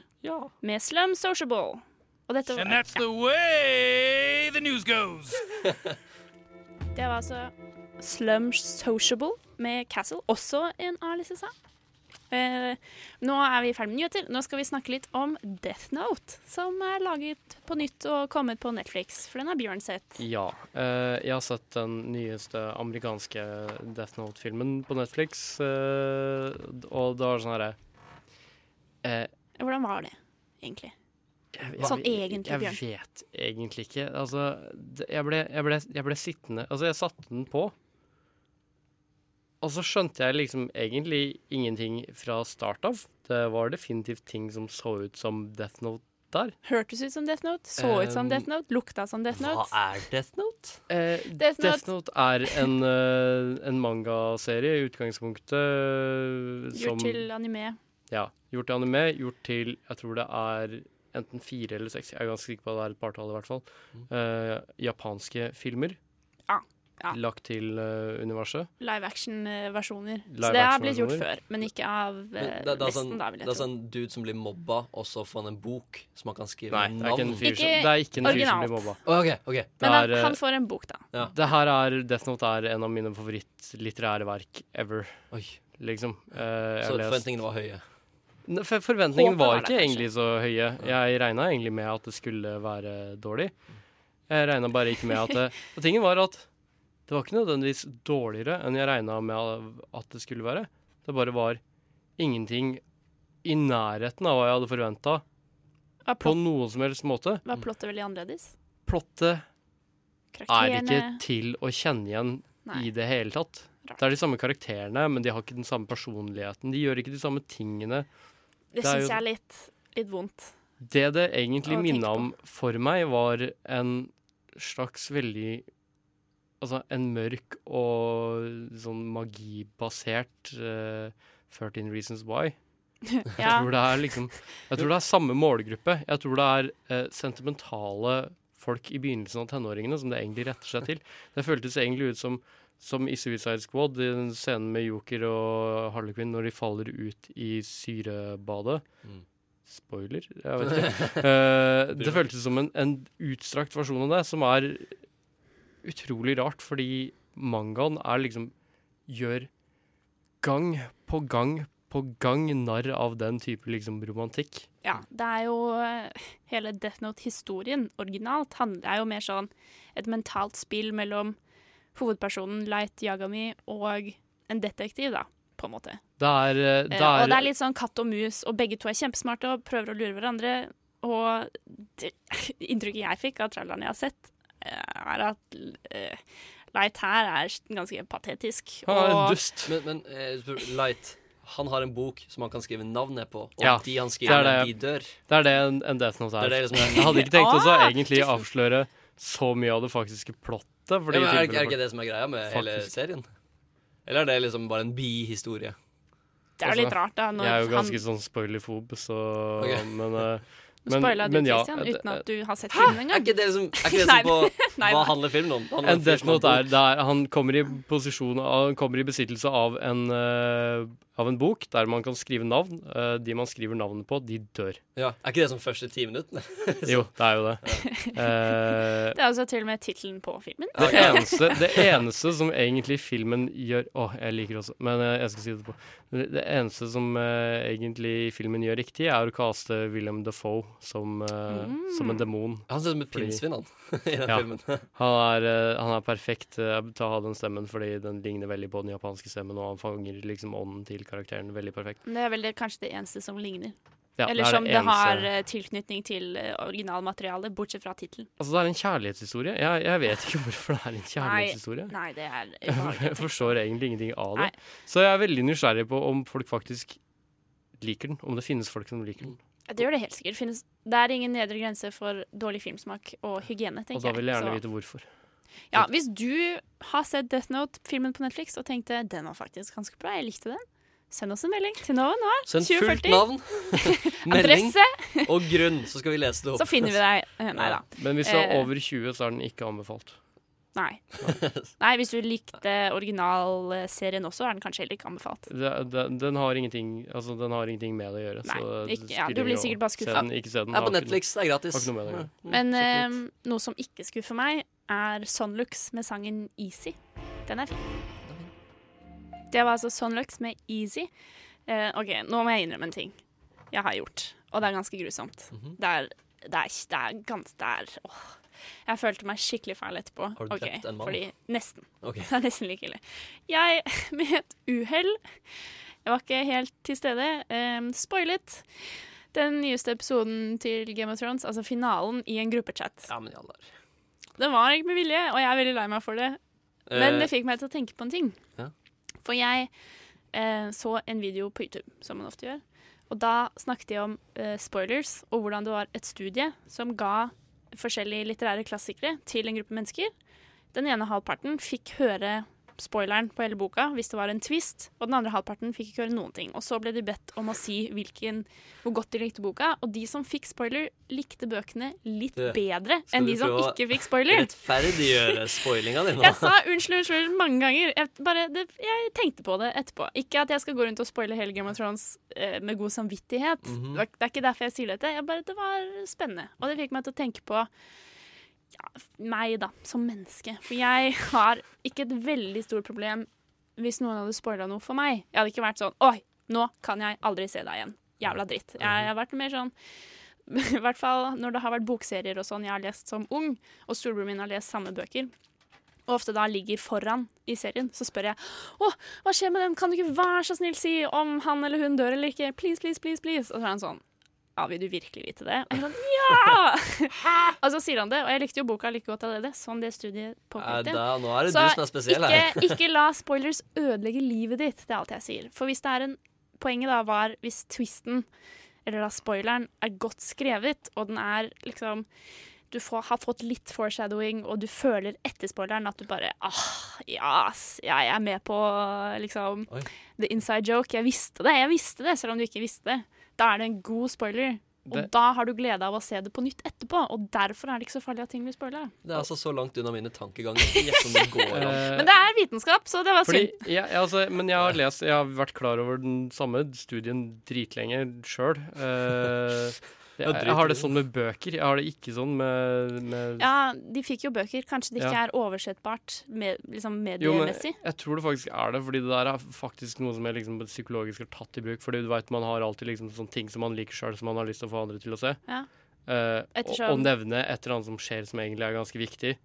Speaker 7: med Slum Sociable. Og dette var,
Speaker 2: that's the way the news goes.
Speaker 7: det var altså Slum Sociable med Castle, også en A-listesang. Eh, nå er vi ferdig med nyheter. Nå skal vi snakke litt om Death Note, som er laget på nytt og kommet på Netflix, for den har Bjørn sett.
Speaker 8: Ja. eh, jeg har sett den nyeste amerikanske Death Note-filmen på Netflix, eh, og det var sånn herre eh,
Speaker 7: Hvordan var det, egentlig?
Speaker 8: jeg-
Speaker 7: Sånn
Speaker 8: jeg-
Speaker 7: egentlig, Bjørn.
Speaker 8: Jeg vet egentlig ikke. Altså, det- jeg ble, jeg, ble, jeg ble sittende Altså, jeg satte den på, og så skjønte jeg liksom egentlig ingenting fra start av. Det var definitivt ting som så ut som Death Note der.
Speaker 7: Hørtes ut som Death Note, så ut som
Speaker 5: Ehm,
Speaker 7: Death Note, lukta som Death
Speaker 5: Hva
Speaker 7: Note.
Speaker 5: er Death Note?
Speaker 8: Eh,
Speaker 7: Death
Speaker 8: Death, Note. er en, eh, en mangaserie i utgangspunktet. eh, som-
Speaker 7: Gjort til anime.
Speaker 8: Ja, gjort til anime, gjort til Jeg tror det er enten fire eller seks, jeg er ganske sikker på at det er et partall i hvert fall.
Speaker 5: Mm.
Speaker 8: eh, japanske filmer.
Speaker 7: Ja, ja.
Speaker 8: Lagt til eh, universet.
Speaker 7: Live action-versjoner. Så
Speaker 8: Live
Speaker 7: det har blitt gjort
Speaker 8: action-versjoner.
Speaker 7: før, men ikke av
Speaker 5: Men
Speaker 7: eh,
Speaker 5: det, det, er
Speaker 7: Vesten,
Speaker 5: sånn,
Speaker 7: da, vil
Speaker 5: det
Speaker 7: jeg
Speaker 5: er
Speaker 7: tro.
Speaker 5: sånn dude som blir mobba, og så får han en bok som han kan skrive
Speaker 8: Nei, det er ikke
Speaker 5: navn
Speaker 8: en fyr som,
Speaker 7: Ikke
Speaker 8: det er ikke en fyr som
Speaker 7: originalt.
Speaker 8: blir mobba.
Speaker 5: Å, OK. ok
Speaker 8: Det
Speaker 7: Men han,
Speaker 8: er, eh,
Speaker 7: han får en bok, da.
Speaker 5: Ja.
Speaker 8: Det her er Death Note er en av mine favorittlitterære verk ever,
Speaker 5: Oi.
Speaker 8: liksom. Eh, jeg
Speaker 5: Så
Speaker 8: har lest-
Speaker 5: forventningene var høye.
Speaker 8: Ne- For forventningene
Speaker 7: Håpet
Speaker 8: var
Speaker 7: var der,
Speaker 8: ikke
Speaker 7: kanskje.
Speaker 8: egentlig så høye. Jeg regna egentlig med at det skulle være dårlig. Jeg regna bare ikke med at det, Og tingen var at det var ikke nødvendigvis dårligere enn jeg regna med at det skulle være. Det bare var ingenting i nærheten av hva jeg hadde forventa
Speaker 7: Var,
Speaker 8: på
Speaker 7: plott,
Speaker 8: noen som helst måte.
Speaker 7: var plottet veldig annerledes?
Speaker 8: Plottet er
Speaker 7: Karakterene
Speaker 8: ikke til å kjenne igjen
Speaker 7: Nei.
Speaker 8: i det hele tatt.
Speaker 7: Rart.
Speaker 8: Det er de samme karakterene, men de har ikke den samme personligheten. De gjør ikke de samme tingene.
Speaker 7: Det
Speaker 8: det er
Speaker 7: syns
Speaker 8: jo-
Speaker 7: jeg er litt, litt vondt.
Speaker 8: Det det egentlig
Speaker 7: Å tenke
Speaker 8: minna om for meg, var en slags veldig Altså en mørk og sånn magibasert eh, 13 Reasons Why.
Speaker 7: Ja,
Speaker 8: Jeg tror det er liksom Jeg tror det er samme målgruppe. Jeg tror det er eh, sentimentale folk i begynnelsen av tenåringene som det egentlig retter seg til. Det føltes egentlig ut som som i Suicide Squad, i den scenen med Joker og Harley Quinn når de faller ut i syrebadet.
Speaker 5: Mm.
Speaker 8: Spoiler? Jeg vet ikke. Eh, det føltes som en, en utstrakt versjon av det, som er utrolig rart, fordi mangaen er liksom Gjør gang på gang på gang narr av den type liksom romantikk.
Speaker 7: ja. Det er jo eh, Hele Death Note-historien originalt handler er jo mer sånn et mentalt spill mellom hovedpersonen Light Yagami og en detektiv, da, på en måte.
Speaker 8: Det er, eh,
Speaker 7: Eh,
Speaker 8: det
Speaker 7: og det er
Speaker 8: er
Speaker 7: litt sånn katt og mus, og begge to er kjempesmarte og prøver å lure hverandre. Og det, inntrykket jeg fikk av trailerne jeg har sett, eh, er at eh, Light her er ganske patetisk.
Speaker 8: Han er en
Speaker 7: og
Speaker 8: dust.
Speaker 5: Men, men eh, spør- Light, han har en bok som han kan skrive navnet på, og
Speaker 8: Ja,
Speaker 5: de han
Speaker 8: det
Speaker 5: skriver,
Speaker 8: er
Speaker 5: de
Speaker 8: det.
Speaker 5: dør.
Speaker 8: Det er det en, en Death Note
Speaker 5: Det
Speaker 8: er.
Speaker 5: er det liksom
Speaker 8: Jeg hadde ikke tenkt også
Speaker 7: Ah,
Speaker 8: egentlig avsløre så mye av det faktiske plottet.
Speaker 5: Ja,
Speaker 8: Fordi
Speaker 5: men er,
Speaker 8: typen-
Speaker 5: er ikke det som er greia med hele
Speaker 8: Faktisk.
Speaker 5: serien? Eller er det liksom bare en bihistorie?
Speaker 7: Det er jo litt rart, da. Når
Speaker 8: altså. Jeg er jo ganske
Speaker 7: han
Speaker 8: sånn spoilerfob, så
Speaker 5: Ok.
Speaker 8: Men, eh,
Speaker 7: men, spoila du, Christian,
Speaker 8: et-
Speaker 7: uten at du har sett filmen
Speaker 5: Er
Speaker 7: engang.
Speaker 5: ikke det liksom, er ikke det
Speaker 7: Nei,
Speaker 5: som på
Speaker 7: nei,
Speaker 5: Hva
Speaker 7: nei.
Speaker 5: handler filmen om? Handler
Speaker 8: En Death
Speaker 5: filmen om
Speaker 8: Note er
Speaker 5: bok?
Speaker 8: der han kommer i posisjon av, Han kommer i besittelse av en, eh, av en bok der man kan skrive navn. Eh, de man skriver navnet på, de dør.
Speaker 5: ja, Er ikke det som første ti minuttene?
Speaker 8: Jo, det er jo det. Eh,
Speaker 7: Det er altså til og med tittelen på filmen.
Speaker 8: Det eneste, det eneste som egentlig filmen gjør Å, jeg liker det også, men eh, jeg skal si det etterpå. Det det eneste som eh, egentlig filmen gjør riktig, er å kaste William Defoe som, eh, som
Speaker 7: Mm.
Speaker 8: en demon.
Speaker 5: Han ser ut som et
Speaker 8: Fordi-
Speaker 5: pinnsvin, han. I den
Speaker 8: Ja.
Speaker 5: filmen.
Speaker 8: Han er, eh, han er perfekt eh, til å ha den stemmen, fordi den ligner veldig på den japanske stemmen, og han fanger liksom ånden til karakteren veldig perfekt.
Speaker 7: Det er vel det- kanskje det eneste som ligner.
Speaker 8: Ja,
Speaker 7: Eller
Speaker 8: er
Speaker 7: som det har
Speaker 8: eneste-
Speaker 7: eh, tilknytning til eh, originalmaterialet, bortsett fra tittelen.
Speaker 8: Altså, det er en kjærlighetshistorie. Jeg, jeg vet ikke hvorfor det er en kjærlighetshistorie.
Speaker 7: Nei, det er
Speaker 8: Jeg forstår egentlig ingenting av det.
Speaker 7: Nei.
Speaker 8: Så jeg er veldig nysgjerrig på om folk faktisk liker den. Om det finnes folk som liker den.
Speaker 7: Det gjør det helt sikkert. Finnes, det er ingen nedre grense for dårlig filmsmak og hygiene, tenker
Speaker 8: Og da vil jeg gjerne
Speaker 7: Så-
Speaker 8: vite hvorfor.
Speaker 7: Ja, hvis du har sett Death Note-filmen på Netflix og tenkte den var faktisk ganske bra, jeg likte den, send oss en melding til Nova Noir.
Speaker 5: Send fullt
Speaker 7: 2040.
Speaker 5: navn, melding
Speaker 7: Adresse,
Speaker 5: og grunn, så skal vi lese det
Speaker 7: så
Speaker 5: opp.
Speaker 7: finner vi deg. Eh, Nei da.
Speaker 8: Men hvis du er
Speaker 7: Eh.
Speaker 8: over 20, så er den ikke anbefalt.
Speaker 7: Nei. Nei, hvis du likte originalserien også, er den kanskje heller ikke anbefalt.
Speaker 8: Det, det, den, har ingenting, altså, den har ingenting med det å gjøre.
Speaker 7: Nei,
Speaker 8: så
Speaker 7: ikke- ja, du
Speaker 8: spiller
Speaker 7: blir
Speaker 8: jo-
Speaker 7: sikkert bare
Speaker 8: se
Speaker 7: skuffet.
Speaker 8: den, Ikke se den.
Speaker 5: Det er
Speaker 8: har
Speaker 5: på
Speaker 8: ikke
Speaker 5: Netflix, det er gratis.
Speaker 8: Har ikke noe med det å gjøre.
Speaker 5: Ja.
Speaker 7: Men
Speaker 5: Sjekk ut.
Speaker 7: eh, noe som ikke skuffer meg, er Sonlux med sangen Easy. Den er fin. Det var altså Sonlux med Easy. Eh, OK, nå må jeg innrømme en ting jeg har gjort, og det er ganske grusomt.
Speaker 5: Mhm.
Speaker 7: Det er det er, det er gans- det er åh. Jeg følte meg skikkelig feil etterpå.
Speaker 5: Har du
Speaker 7: Ok,
Speaker 5: drept en mann?
Speaker 7: Fordi, nesten.
Speaker 5: Ok.
Speaker 7: Det er nesten like ille. Jeg, med et uhell Jeg var ikke helt til stede. Um, spoilet den nyeste episoden til Game of Thrones, altså finalen, i en gruppechat.
Speaker 5: Ja, men i all verden.
Speaker 7: Det var ikke med vilje, og jeg er veldig lei meg for det. Men det fikk meg til å tenke på en ting.
Speaker 5: Eh. Ja.
Speaker 7: For jeg eh, så en video på YouTube, som man ofte gjør. Og da snakket de om eh, spoilers, og hvordan det var et studie som ga forskjellige litterære klassikere til en gruppe mennesker. Den ene halvparten fikk høre spoileren på hele boka hvis det var en twist, og den andre halvparten fikk ikke høre noen ting. Og så ble de bedt om å si hvilken, hvor godt de likte boka, og de som fikk spoiler, likte bøkene litt
Speaker 5: Du,
Speaker 7: bedre
Speaker 5: skal
Speaker 7: enn
Speaker 5: du
Speaker 7: de som
Speaker 5: prøve å
Speaker 7: ikke fikk spoiler.
Speaker 5: Rettferdiggjøre eh, spoilinga di nå.
Speaker 7: Jeg sa unnskyld, unnskyld mange ganger. Jeg, bare, det, jeg tenkte på det etterpå. Ikke at jeg skal gå rundt og spoile hele Game of Thrones eh, med god samvittighet. det, var, det er ikke derfor jeg sier dette. Jeg bare, det var spennende. Og det fikk meg til å tenke på ja, meg, da, som menneske. For jeg har ikke et veldig stort problem hvis noen hadde spoila noe for meg. Jeg hadde ikke vært sånn Oi, nå kan jeg aldri se deg igjen. Jævla dritt. Jeg, jeg har vært mer sånn i hvert fall når det har vært bokserier og sånn jeg har lest som ung, og storebroren min har lest samme bøker, og ofte da ligger foran i serien, så spør jeg Å, hva skjer med den? Kan du ikke være så snill si om han eller hun dør eller ikke? Please, please, please, please. Og så er han sånn Ja, vil du virkelig vite det? Og jeg er sånn, ja! og så sier han det, og jeg likte jo boka like godt allerede, som det studiet
Speaker 5: Nei,
Speaker 7: påpekte.
Speaker 5: Eh, da, nå er det
Speaker 7: Så
Speaker 5: du som er spesiell her.
Speaker 7: ikke, ikke la spoilers ødelegge livet ditt, det er alt jeg sier. For hvis det er en Poenget da var hvis twisten, eller da spoileren, er godt skrevet, og den er liksom Du får, har fått litt foreshadowing, og du føler etter spoileren at du bare Ah, ja, ass, jeg er med på liksom
Speaker 5: Oi.
Speaker 7: the inside joke. Jeg visste det, jeg visste det, selv om du ikke visste det. Da er det en god spoiler. Og
Speaker 8: Det-
Speaker 7: da har du glede av å se det på nytt etterpå, og derfor er det ikke så farlig at ting blir spoila.
Speaker 5: Det er altså så langt unna mine tankeganger. Gjett om det går an.
Speaker 8: Eh,
Speaker 7: Men det er vitenskap, så det var
Speaker 8: Fordi,
Speaker 7: synd.
Speaker 8: ja, ja, altså, men jeg har lest Jeg har vært klar over den samme studien dritlenge sjøl. jeg, jeg har det sånn med bøker. Jeg har det ikke sånn med, med
Speaker 7: Ja, de fikk jo bøker. Kanskje det ikke
Speaker 8: Ja.
Speaker 7: er oversettbart med, liksom
Speaker 8: Jo, men
Speaker 7: mediemessig.
Speaker 8: jeg tror det faktisk er det, fordi det der er faktisk noe som jeg liksom psykologisk har tatt i bruk. Fordi du vet, man har alltid liksom sånne ting som man liker sjøl, som man har lyst til å få andre til å se.
Speaker 7: Ja.
Speaker 8: Eh, og,
Speaker 7: Ettersom-
Speaker 8: og nevne et eller annet som skjer som egentlig er ganske viktig.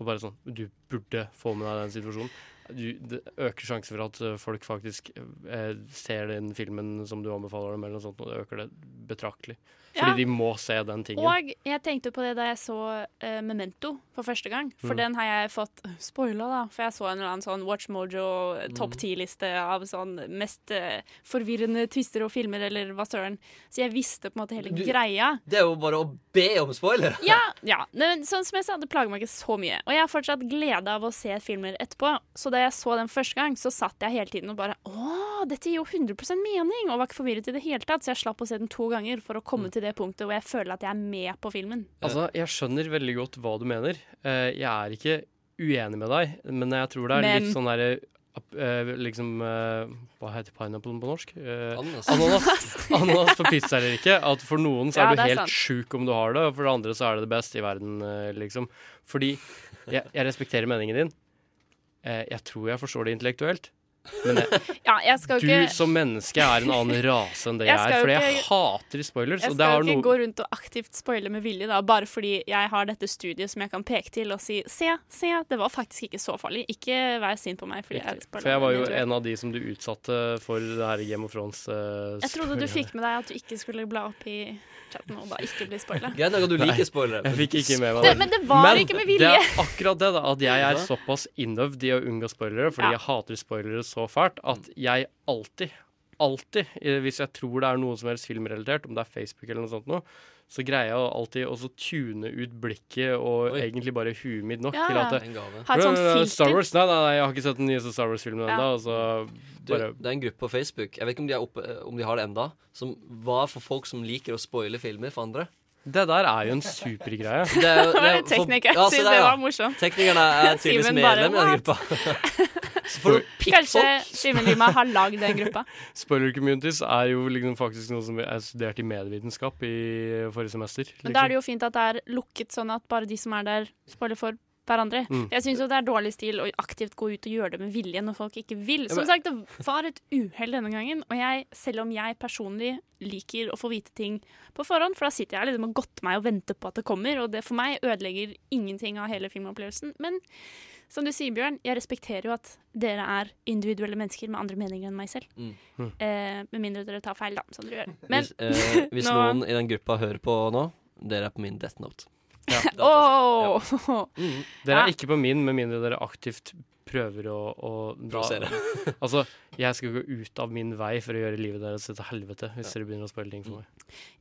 Speaker 8: Og bare sånn Du burde få med deg den situasjonen. Du, det øker sjansen for at eh, folk faktisk eh, ser den filmen som du anbefaler dem, eller noe sånt, og det øker det betraktelig.
Speaker 7: Ja.
Speaker 8: Fordi de må se den tingen.
Speaker 7: Og jeg tenkte på det da jeg så eh, Memento for første gang. For
Speaker 8: Mm.
Speaker 7: den har jeg fått spoila, da. For jeg så en eller annen sånn Watch Mojo eh,
Speaker 8: Mm.
Speaker 7: topp ti-liste av sånn mest eh, forvirrende twister og filmer, eller hva søren. Så jeg visste på en måte hele
Speaker 5: Du-
Speaker 7: greia.
Speaker 5: Det er jo bare å be om spoiler.
Speaker 7: Ja, ja. Nei, men sånn som jeg sa, det plager meg ikke så mye. Og jeg har fortsatt glede av å se filmer etterpå. Så da jeg så den første gang, så satt jeg hele tiden og bare Å, dette gir jo 100 mening! Og var ikke forvirret i det hele tatt. Så jeg slapp å se den to ganger for å
Speaker 8: Mm.
Speaker 7: komme til det punktet hvor jeg føler at jeg er med på filmen.
Speaker 8: Altså, jeg skjønner veldig godt hva du mener. Eh, jeg er ikke uenig med deg, men jeg tror det er
Speaker 7: Men-
Speaker 8: litt sånn derre eh, Liksom eh, Hva heter pineapple på norsk? Eh,
Speaker 5: Ananas.
Speaker 8: Ananas. Ananas på pizza eller ikke. At for noen så
Speaker 7: Ja,
Speaker 8: er
Speaker 7: det er
Speaker 8: du
Speaker 7: sant.
Speaker 8: helt sjuk om du har det, og for det andre så er det det beste i verden, eh, liksom. Fordi jeg, jeg respekterer meningen din. Eh, jeg tror jeg forstår det intellektuelt. Men jeg,
Speaker 7: Ja, jeg skal
Speaker 8: du
Speaker 7: jo ikke
Speaker 8: som menneske er en annen rase enn det jeg,
Speaker 7: Jeg skal
Speaker 8: er,
Speaker 7: jo
Speaker 8: for jeg
Speaker 7: ikke-
Speaker 8: hater spoilers.
Speaker 7: Jeg
Speaker 8: og det
Speaker 7: skal
Speaker 8: har
Speaker 7: jo ikke
Speaker 8: noe
Speaker 7: gå rundt og aktivt spoile med vilje, da, bare fordi jeg har dette studiet som jeg kan peke til og si se, se, det var faktisk ikke så farlig. Ikke vær sint på meg. Fordi jeg
Speaker 8: Riktig.
Speaker 7: spoiler
Speaker 8: For jeg var
Speaker 7: med
Speaker 8: jo
Speaker 7: vilje.
Speaker 8: en av de som du utsatte for det her Game of Thrones. eh,
Speaker 7: Jeg trodde du
Speaker 8: spoiler.
Speaker 7: fikk med deg at du ikke skulle bla opp i chatten og da ikke bli spoila.
Speaker 5: Greit nok at du liker spoilere.
Speaker 8: Jeg
Speaker 5: men-
Speaker 8: fikk ikke med meg
Speaker 7: Det- men det var ikke med vilje.
Speaker 8: det er akkurat det, da. At jeg er
Speaker 5: Ja.
Speaker 8: såpass innøvd i å unngå spoilere,
Speaker 7: Ja.
Speaker 8: fordi jeg hater spoilere så fælt, at jeg alltid, alltid, eh, hvis jeg tror det er noe som helst filmrelatert, om det er Facebook eller noe sånt noe, så greier jeg å alltid også tune ut blikket og
Speaker 5: Oi.
Speaker 8: egentlig bare huet mitt nok
Speaker 7: Ja,
Speaker 8: til at
Speaker 7: ja.
Speaker 8: det,
Speaker 5: En gave.
Speaker 7: Ha et sånt
Speaker 8: Nei, nei, nei, Star
Speaker 7: filter.
Speaker 8: Wars? Nei, nei, nei, jeg har ikke sett den nyeste Star Wars-filmen
Speaker 7: Ja.
Speaker 8: ennå. Så
Speaker 5: Du,
Speaker 8: bare
Speaker 5: det er en gruppe på Facebook, jeg vet ikke om de, er oppe, eh, om de har det enda, som var for folk som liker å spoile filmer for andre.
Speaker 8: Det der er jo en supergreie.
Speaker 5: Det er,
Speaker 7: Det
Speaker 5: jo-
Speaker 7: var
Speaker 5: er
Speaker 7: en
Speaker 5: for-
Speaker 7: tekniker.
Speaker 5: Ja,
Speaker 7: Jeg
Speaker 5: se
Speaker 7: synes
Speaker 5: der,
Speaker 7: det
Speaker 5: ja.
Speaker 7: var morsomt.
Speaker 5: Teknikerne er tydeligvis
Speaker 7: Simen bare,
Speaker 5: medlem i den
Speaker 7: what?
Speaker 5: gruppa. Så for noen
Speaker 7: Kanskje
Speaker 5: pikkfolk!
Speaker 7: Simen Lima har lagd den gruppa.
Speaker 8: Spoiler communities er jo liksom faktisk noe som er studert i medievitenskap i forrige semester. liksom.
Speaker 7: Men da er det jo fint at det er lukket sånn at bare de som er der, spoiler for hverandre.
Speaker 8: Mm.
Speaker 7: Jeg syns jo det er dårlig stil å aktivt gå ut og gjøre det med vilje når folk ikke vil. Som
Speaker 5: men-
Speaker 7: sagt, det var et uhell denne gangen, og jeg, selv om jeg personlig liker å få vite ting på forhånd, for da sitter jeg liksom og godter meg og venter på at det kommer, og det for meg ødelegger ingenting av hele filmopplevelsen. Men som du sier, Bjørn, jeg respekterer jo at dere er individuelle mennesker med andre meninger enn meg selv.
Speaker 5: Mm.
Speaker 7: Eh, med mindre dere tar feil, da, som dere gjør. Men
Speaker 5: hvis eh, hvis
Speaker 7: nå-
Speaker 5: noen i den gruppa hører på nå, dere er på min death note.
Speaker 7: Ååå!
Speaker 8: Dere
Speaker 7: Ja.
Speaker 8: er ikke på min, med mindre dere aktivt prøver å, å da-
Speaker 5: Provosere.
Speaker 8: altså, jeg skal gå ut av min vei for å gjøre livet deres til helvete hvis dere begynner å spoile ting for meg.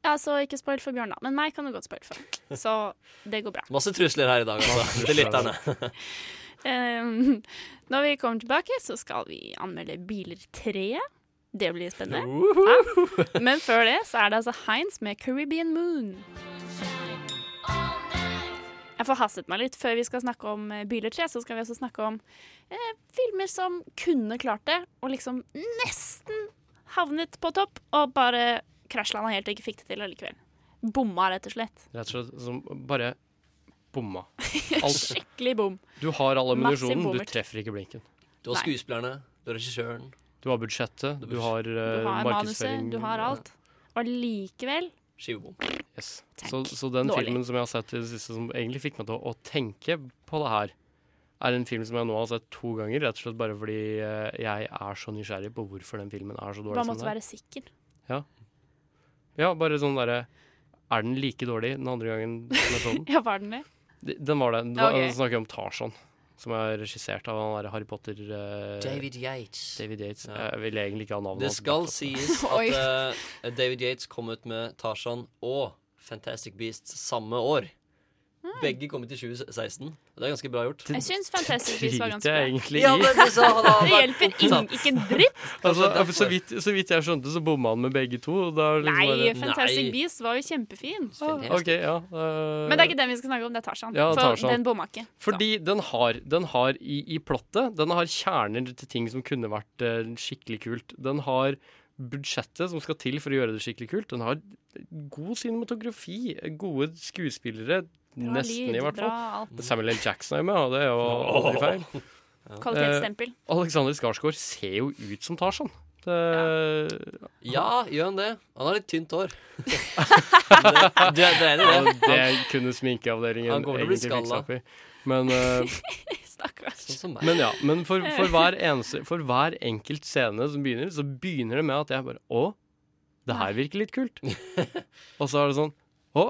Speaker 7: Ja, så ikke spoil for Bjørn, da. Men meg kan du godt spoil for. Så det går bra.
Speaker 5: Masse trusler her i dag, altså. Til lytterne.
Speaker 7: Ehm, når vi kommer tilbake, så skal vi anmelde Biler 3. Det blir spennende. Ja. Men før det så er det altså Heinz med Caribbean Moon. Jeg forhastet meg litt. Før vi skal snakke om eh, Biler 3, så skal vi også snakke om eh, filmer som kunne klart det, og liksom nesten havnet på topp, og bare krasjlanda helt og ikke fikk det til allikevel. Bomma, rett og slett.
Speaker 8: Rett og slett som bare bomma. Alt.
Speaker 7: Skikkelig bom.
Speaker 8: Du har all
Speaker 7: Massiv
Speaker 8: ammunisjonen, du
Speaker 7: bommert.
Speaker 8: treffer ikke blinken.
Speaker 5: Du har
Speaker 7: Nei.
Speaker 5: skuespillerne, du har regissøren.
Speaker 8: Du har budsjettet, du har,
Speaker 7: Du
Speaker 8: eh,
Speaker 7: har
Speaker 8: markedsføring.
Speaker 7: manuset, du har alt. Og likevel
Speaker 5: Skivebom.
Speaker 8: Yes.
Speaker 7: Tenk.
Speaker 8: Så, så den
Speaker 7: Dårlig.
Speaker 8: filmen som jeg har sett i det siste, som egentlig fikk meg til å, å tenke på det her, er en film som jeg nå har sett to ganger, rett og slett bare fordi eh, jeg er så nysgjerrig på hvorfor den filmen er så dårlig
Speaker 7: bare
Speaker 8: som
Speaker 7: måtte
Speaker 8: den er.
Speaker 7: være sikker.
Speaker 8: Ja, bare sånn derre Er den like dårlig den andre gangen som jeg så den?
Speaker 7: Ja, var den det?
Speaker 8: De- Den var det. Da
Speaker 7: Ok.
Speaker 8: snakker jeg om Tarzan, som er regissert av han derre Harry Potter eh,
Speaker 5: David Yates.
Speaker 8: David Yates.
Speaker 5: Ja.
Speaker 8: Jeg vil egentlig ikke ha navnet
Speaker 5: Det
Speaker 8: hans,
Speaker 5: skal
Speaker 8: men-
Speaker 5: sies
Speaker 7: Oi.
Speaker 5: at eh, David Yates kom ut med Tarzan og Fantastic Beasts samme år.
Speaker 7: Hmm.
Speaker 5: Begge kom ut i 2016. Det er ganske bra gjort.
Speaker 7: Jeg syns Fantastic Beasts var ganske
Speaker 8: Driter jeg
Speaker 7: bra.
Speaker 8: egentlig i.
Speaker 5: men så han har
Speaker 7: Det
Speaker 5: vært
Speaker 7: hjelper ingen,
Speaker 5: opptatt.
Speaker 7: ikke en dritt!
Speaker 8: Altså,
Speaker 5: Kanskje derfor.
Speaker 8: så, vidt, så vidt jeg skjønte, så bomma han med begge to. og Da er det
Speaker 7: Nei,
Speaker 8: liksom bare,
Speaker 7: Fantastic
Speaker 5: Nei.
Speaker 7: Beasts var jo kjempefin.
Speaker 8: OK, ja. eh,
Speaker 7: Men det er ikke den vi skal snakke om, det er Tarzan.
Speaker 8: Ja,
Speaker 7: For
Speaker 8: Tarzan.
Speaker 7: den bomma ikke. Så.
Speaker 8: Fordi den har, den har i, i plottet Den har kjerner til ting som kunne vært eh, skikkelig kult. Den har budsjettet som skal til for å gjøre det skikkelig kult. Den har god cinematografi, gode skuespillere.
Speaker 7: Bra
Speaker 8: nesten,
Speaker 7: lyd,
Speaker 8: i hvert fall.
Speaker 7: Bra alt.
Speaker 8: Samuel L. Jackson er med, og det er jo aldri feil.
Speaker 7: Kvalitetsstempel.
Speaker 8: Alexander Skarsgård ser jo ut som Tarzan. Det,
Speaker 5: Ja, gjør han det? Han har litt tynt hår. det, det, det er det.
Speaker 8: og det kunne sminkeavdelingen
Speaker 5: Han kommer til å
Speaker 8: egentlig
Speaker 5: bli
Speaker 8: fiksa
Speaker 5: skalla.
Speaker 8: opp i. Men eh,
Speaker 7: Stakkars.
Speaker 5: Sånn som meg.
Speaker 8: Men ja, men for, for, hver eneste, for hver enkelt scene som begynner, så begynner det med at jeg bare Å, det her virker litt kult. og så er det sånn Å,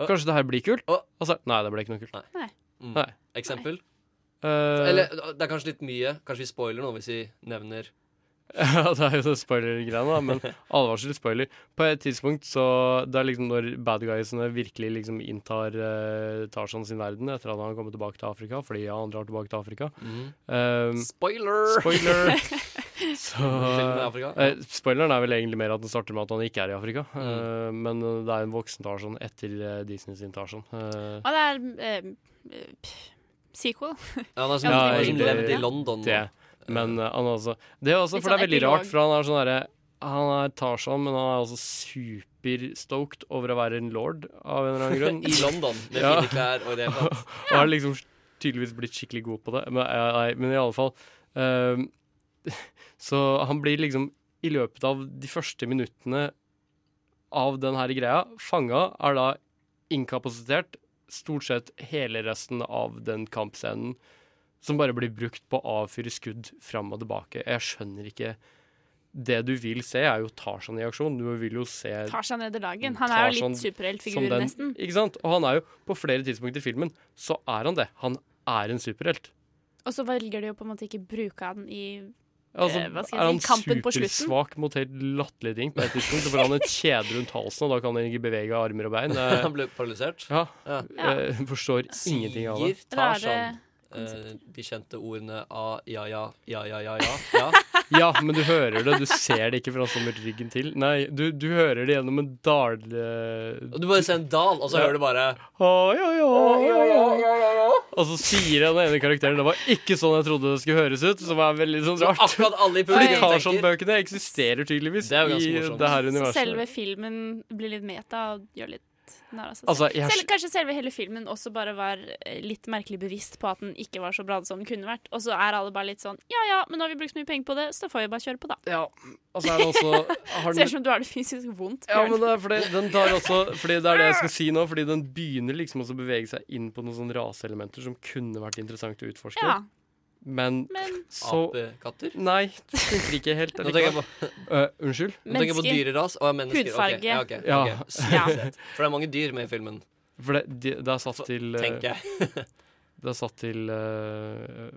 Speaker 8: kanskje det her blir kult?
Speaker 5: Å.
Speaker 8: Og så Nei, det ble ikke noe kult.
Speaker 5: Mm.
Speaker 8: Nei.
Speaker 5: Eksempel?
Speaker 8: Eh,
Speaker 5: Eller det er kanskje litt mye. Kanskje vi spoiler noe hvis vi nevner
Speaker 8: Ja, det er jo så spoiler-greiene, da, men advarsel spoiler. På et tidspunkt så Det er liksom når bad guysene virkelig liksom inntar uh, Tarzan sin verden etter at han har kommet tilbake til Afrika, fordi han drar tilbake til Afrika. Um,
Speaker 5: Spoiler!
Speaker 8: spoiler! så
Speaker 5: Filmen er Afrika.
Speaker 8: eh, Spoileren er vel egentlig mer at den starter med at han ikke er i Afrika, eh, men eh, det er en voksen Tarzan etter eh, Disney sin Tarzan. Eh,
Speaker 7: Og det er eh, eh, pff, sequel.
Speaker 5: Ja, han har som,
Speaker 8: Ja,
Speaker 5: han har som
Speaker 8: egentlig-
Speaker 5: levd i London. nå.
Speaker 8: det. Men eh, han er også Det er også,
Speaker 7: Litt
Speaker 8: for det er
Speaker 7: sånn
Speaker 8: veldig
Speaker 7: epilog.
Speaker 8: rart, for han er sånn derre Han er Tarzan, men han er også superstoked over å være en lord av en eller annen grunn.
Speaker 5: I London, med
Speaker 8: Ja.
Speaker 5: fine klær og i det hele tatt.
Speaker 8: Og har liksom tydeligvis blitt skikkelig god på det. Men, eh, nei, men i alle fall ehm, Så han blir liksom i løpet av de første minuttene av den her greia fanga, er da inkapasitert stort sett hele resten av den kampscenen. Som bare blir brukt på å avfyre skudd fram og tilbake. Jeg skjønner ikke Det du vil se, er jo Tarzan i aksjon. Du vil jo se
Speaker 7: Tarzan redder dagen. Han er jo
Speaker 8: Mm, Tarzan
Speaker 7: litt
Speaker 8: som
Speaker 7: superheltfigur,
Speaker 8: den-
Speaker 7: nesten.
Speaker 8: Ikke sant? Og han er jo på flere tidspunkt i filmen, så er han det. Han er en superhelt.
Speaker 7: Og så velger de jo på en måte ikke bruke han i
Speaker 8: Altså,
Speaker 7: Eh, hva skal jeg
Speaker 8: er han
Speaker 7: si, kampen på slutten?
Speaker 8: supersvak mot helt latterlige ting på et tidspunkt, så får han et kjede rundt halsen, og da kan han ikke bevege armer og bein. Det-
Speaker 5: Han ble paralysert.
Speaker 8: Ja,
Speaker 5: Ja.
Speaker 8: jeg forstår ingenting av det.
Speaker 5: Sier
Speaker 7: rare
Speaker 5: Tarzan eh, de kjente ordene a, ja, ja, ja, ja, ja, ja. ja.
Speaker 8: Ja, men du hører det. Du ser det ikke, for han står med ryggen til. Nei, du, du hører det gjennom en dal... eh,
Speaker 5: Og du bare ser en dal, og så hører du bare
Speaker 8: «Å, ja, ja, ja, ja». Og så sier han den ene karakteren det var ikke sånn jeg trodde det skulle høres ut, som er veldig sånn rart.
Speaker 5: Akkurat alle i
Speaker 8: Fordi
Speaker 5: publikum tenker
Speaker 8: Tarzan-bøkene eksisterer tydeligvis
Speaker 5: Det er jo ganske
Speaker 8: i
Speaker 5: morsomt.
Speaker 8: det her
Speaker 7: Så
Speaker 8: universet.
Speaker 7: selve filmen blir litt meta og gjør litt narr av seg selv.
Speaker 8: Altså, jeg,
Speaker 7: Selv, kanskje selve hele filmen også bare var eh, litt merkelig bevisst på at den ikke var så bra som den kunne vært. Og så er alle bare litt sånn ja ja, men nå har vi brukt så mye penger på det, så da får vi bare kjøre på, da.
Speaker 8: ja, altså er det også har
Speaker 7: Ser ut
Speaker 8: den,
Speaker 7: som du har det fysisk vondt.
Speaker 8: ja,
Speaker 7: Bjørn.
Speaker 8: men det er fordi den tar også Fordi det er det jeg skal si nå, fordi den begynner liksom også å bevege seg inn på noen sånne raseelementer som kunne vært interessant å utforske,
Speaker 7: ja,
Speaker 8: men
Speaker 7: men
Speaker 8: så
Speaker 5: apekatter.
Speaker 8: Nei, det funker ikke helt.
Speaker 5: Nå tenker jeg på,
Speaker 8: Eh, unnskyld?
Speaker 5: nå tenker jeg på
Speaker 7: mennesker.
Speaker 5: dyreras. Å, ja, mennesker. ok, ja, ok,
Speaker 8: Ja.
Speaker 5: ok. Sykt sett. For det er mange dyr med i filmen,
Speaker 8: For det, det, det er satt til eh,
Speaker 5: tenker jeg.
Speaker 8: Det er satt til eh,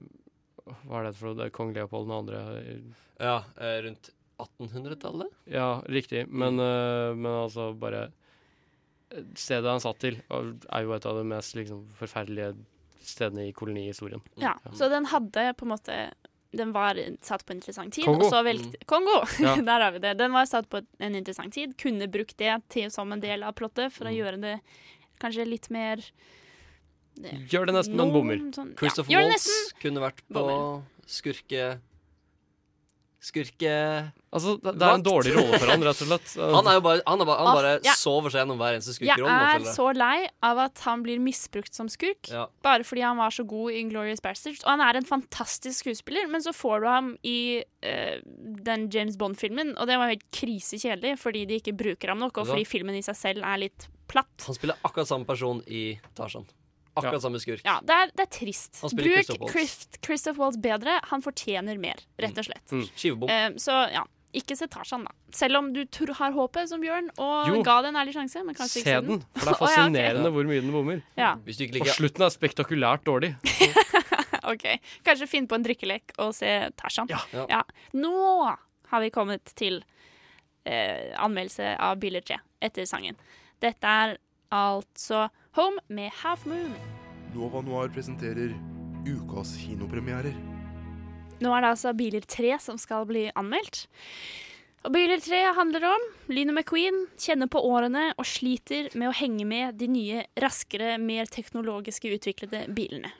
Speaker 8: Hva er det for noe? Det er Kong Leopold den andre
Speaker 5: Ja, eh, rundt 1800-tallet?
Speaker 8: Ja, riktig.
Speaker 5: Mm.
Speaker 8: Men, øh, men altså bare eh, Stedet han satt til, og er jo et av de mest liksom, forferdelige stedene i kolonihistorien.
Speaker 7: Ja, så den hadde på en måte Den var satt på en interessant tid.
Speaker 8: Kongo. Mm.
Speaker 7: Og så velgte, Kongo!
Speaker 8: Ja.
Speaker 7: Der har vi det. Den var satt på en interessant tid. Kunne brukt det til, som en del av plottet
Speaker 8: Mm.
Speaker 7: for å gjøre det kanskje litt mer
Speaker 8: Gjør det nesten, men bommer.
Speaker 7: Sånn, ja.
Speaker 5: Christopher
Speaker 7: Gjør det
Speaker 5: Waltz
Speaker 7: nesten!
Speaker 5: kunne vært på
Speaker 7: Bommer.
Speaker 5: skurke... Skurke...
Speaker 8: Altså, det, det er en
Speaker 5: Vakt.
Speaker 8: dårlig rolle for han, rett og slett.
Speaker 5: Han er jo bare, han er bare, han
Speaker 7: Åh,
Speaker 5: bare
Speaker 7: ja.
Speaker 5: sover seg gjennom hver eneste
Speaker 7: Jeg
Speaker 5: skurkerolle.
Speaker 7: er
Speaker 5: nå, føler jeg.
Speaker 7: så lei av at han blir misbrukt som skurk.
Speaker 5: Ja.
Speaker 7: Bare fordi han var så god i Inglorious Bastards. Og han er en fantastisk skuespiller, men så får du ham i eh, den James Bond-filmen, og det var helt krisekjedelig fordi de ikke bruker ham nok, og
Speaker 5: Ja.
Speaker 7: fordi filmen i seg selv er litt platt.
Speaker 5: Han spiller akkurat samme person i Tarzan. Akkurat
Speaker 8: Ja.
Speaker 5: samme skurk.
Speaker 7: Ja, det er, det er trist.
Speaker 5: Han spiller
Speaker 7: Bruk
Speaker 5: Christoph Waltz.
Speaker 7: Christ- Christoph Waltz bedre. Han fortjener mer, rett og slett.
Speaker 5: Skivebom.
Speaker 7: Eh, så ja, ikke se Tarzan, da. Selv om du tror har håpet, som Bjørn, og
Speaker 8: Jo.
Speaker 7: ga det en ærlig sjanse. Men kanskje
Speaker 8: Se
Speaker 7: ikke sånn.
Speaker 8: den, for det
Speaker 7: Å, ja,
Speaker 8: er
Speaker 7: ok.
Speaker 8: fascinerende hvor mye den bommer.
Speaker 7: Ja,
Speaker 5: Hvis du
Speaker 8: Og
Speaker 5: ikke liker
Speaker 8: slutten er spektakulært dårlig.
Speaker 7: ok. Kanskje finne på en drikkelek og se Tarzan.
Speaker 5: Ja.
Speaker 7: Ja. Nå har vi kommet til eh, anmeldelse av Billie J etter sangen. Dette er altså Home med Half Moon.
Speaker 11: Nova Noir presenterer ukas kinopremierer.
Speaker 7: Nå er det altså Biler 3 som skal bli anmeldt. Og Biler 3 handler om Lynet McQueen kjenner på årene og sliter med å henge med de nye, raskere, mer teknologisk utviklede bilene.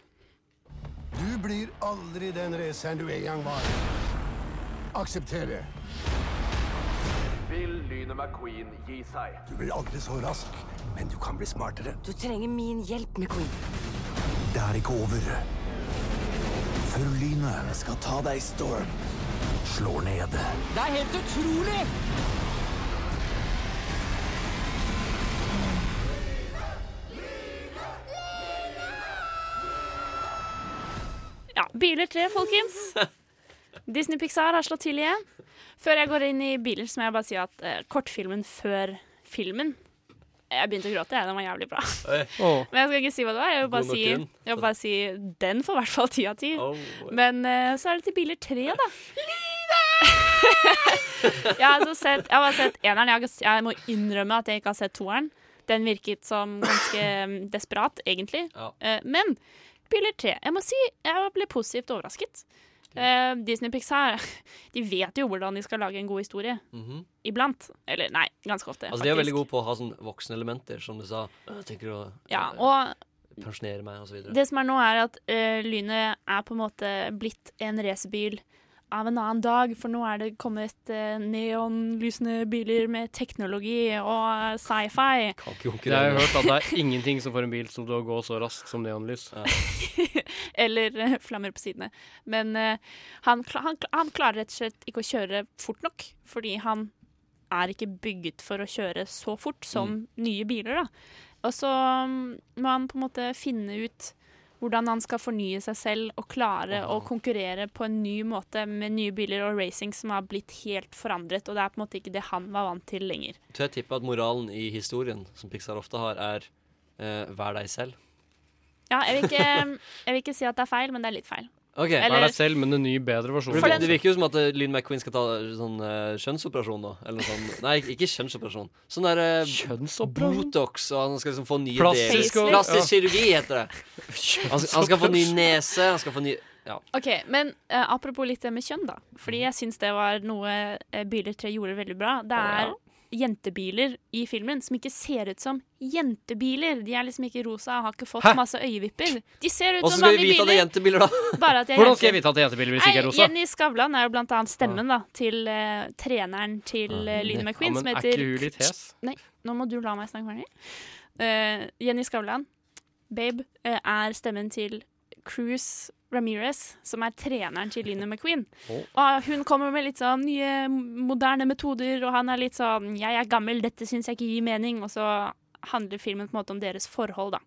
Speaker 11: Du blir aldri den raceren du en gang var. Aksepter det.
Speaker 2: Vil Lynet McQueen gi seg?
Speaker 11: Du blir aldri så rask, men du kan bli smartere.
Speaker 12: Du trenger min hjelp, McQueen.
Speaker 11: Det er ikke over. Før lynet skal ta deg, Storm, slår ned.
Speaker 12: Det er helt utrolig!
Speaker 7: Ja, Biler 3, folkens. Disney Pixar har slått til igjen. Før jeg går inn i bilen, så må jeg bare si at eh, kortfilmen før filmen Jeg begynte å gråte, jeg. Den var jævlig bra.
Speaker 5: Oi.
Speaker 8: Åh.
Speaker 7: Men jeg skal ikke si hva det var. Jeg vil bare,
Speaker 8: God nok
Speaker 7: si,
Speaker 8: grunn. Oh,
Speaker 7: jeg vil bare si den får i hvert fall ti av ti. Men eh, så er det til biler tre, da. jeg har altså sett, jeg har bare sett eneren. Jeg, har, ikke- jeg må innrømme at jeg ikke har sett toeren. Den virket som ganske mm, desperat, egentlig.
Speaker 5: Ja.
Speaker 7: Eh, men Biler 3 Jeg må si jeg ble positivt overrasket. Eh, Disney Pixar De vet jo hvordan de skal lage en god historie.
Speaker 5: Mhm.
Speaker 7: Iblant. Eller nei, ganske ofte.
Speaker 5: Altså, de er
Speaker 7: faktisk.
Speaker 5: veldig gode på å ha sånne voksenelementer, som du sa. Jeg tenker å øh,
Speaker 7: Ja, og
Speaker 5: pensjonere meg, og så videre.
Speaker 7: Det som er nå, er at eh, Lynet er på en måte blitt en racerbil av en annen dag, for nå er det kommet eh, neonlysende biler med teknologi og sci-fi.
Speaker 8: Jeg har hørt at det er ingenting som får en bil som til å gå så raskt som neonlys.
Speaker 7: Eller eh, flammer på sidene. Men eh, han, kla- han, kla- han klarer rett og slett ikke å kjøre fort nok, fordi han er ikke bygget for å kjøre så fort som nye biler. da. Og så mm, må han på en måte finne ut hvordan han skal fornye seg selv og klare å konkurrere på en ny måte med nye biler og racing som har blitt helt forandret, og det er på en måte ikke det han var vant til lenger.
Speaker 5: Tør jeg tippe at moralen i historien, som Pixar ofte har, er eh, vær deg selv.
Speaker 7: Ja, jeg vil, ikke, jeg vil ikke si at det er feil, men det er litt feil.
Speaker 5: Ok,
Speaker 7: Eller-
Speaker 8: Vær deg selv, men en ny, bedre versjon.
Speaker 5: For det, det virker jo som at eh, Lynn McQueen skal ta sånn eh, kjønnsoperasjon, da. Eller noe sånn. Nei, ikke- ikke kjønnsoperasjon. Sånn der eh, Botox, og han skal liksom få nye
Speaker 8: Plastisk
Speaker 5: deler.
Speaker 8: og-
Speaker 5: Plastisk
Speaker 8: ja.
Speaker 5: kirurgi, heter det. Han, skal- han skal få ny nese, han skal få ny Ja.
Speaker 7: Ok, men eh, apropos litt det med kjønn, da. Fordi
Speaker 8: Mm.
Speaker 7: jeg syns det var noe eh, Biler 3 gjorde veldig bra. Det er jentebiler i filmen som ikke ser ut som jentebiler. De er liksom ikke rosa og har ikke fått
Speaker 8: Hæ?
Speaker 7: masse øyevipper. De ser ut
Speaker 5: Hvordan
Speaker 7: som
Speaker 5: skal vi
Speaker 7: vanlige
Speaker 5: vite at det er
Speaker 7: biler.
Speaker 5: jentebiler, da?
Speaker 7: Bare at de er
Speaker 8: Hvordan skal jeg
Speaker 7: jenter.
Speaker 8: vite at jentebiler hvis ikke er
Speaker 7: Nei,
Speaker 8: rosa?
Speaker 7: Jenny Skavlan er jo blant annet stemmen da, til eh, treneren til uh, Lyne McQueen,
Speaker 8: Ja,
Speaker 7: som
Speaker 8: men er
Speaker 7: heter
Speaker 8: ikke hun litt hes?
Speaker 7: Nei, nå må du la meg snakke ferdig. Eh, Jenny Skavlan, babe, eh, er stemmen til Cruz Ramirez, som er treneren til Lyne McQueen. Og hun kommer med litt sånn nye, moderne metoder, og han er litt sånn 'Jeg er gammel, dette syns jeg ikke gir mening', og så handler filmen på en måte om deres forhold, da.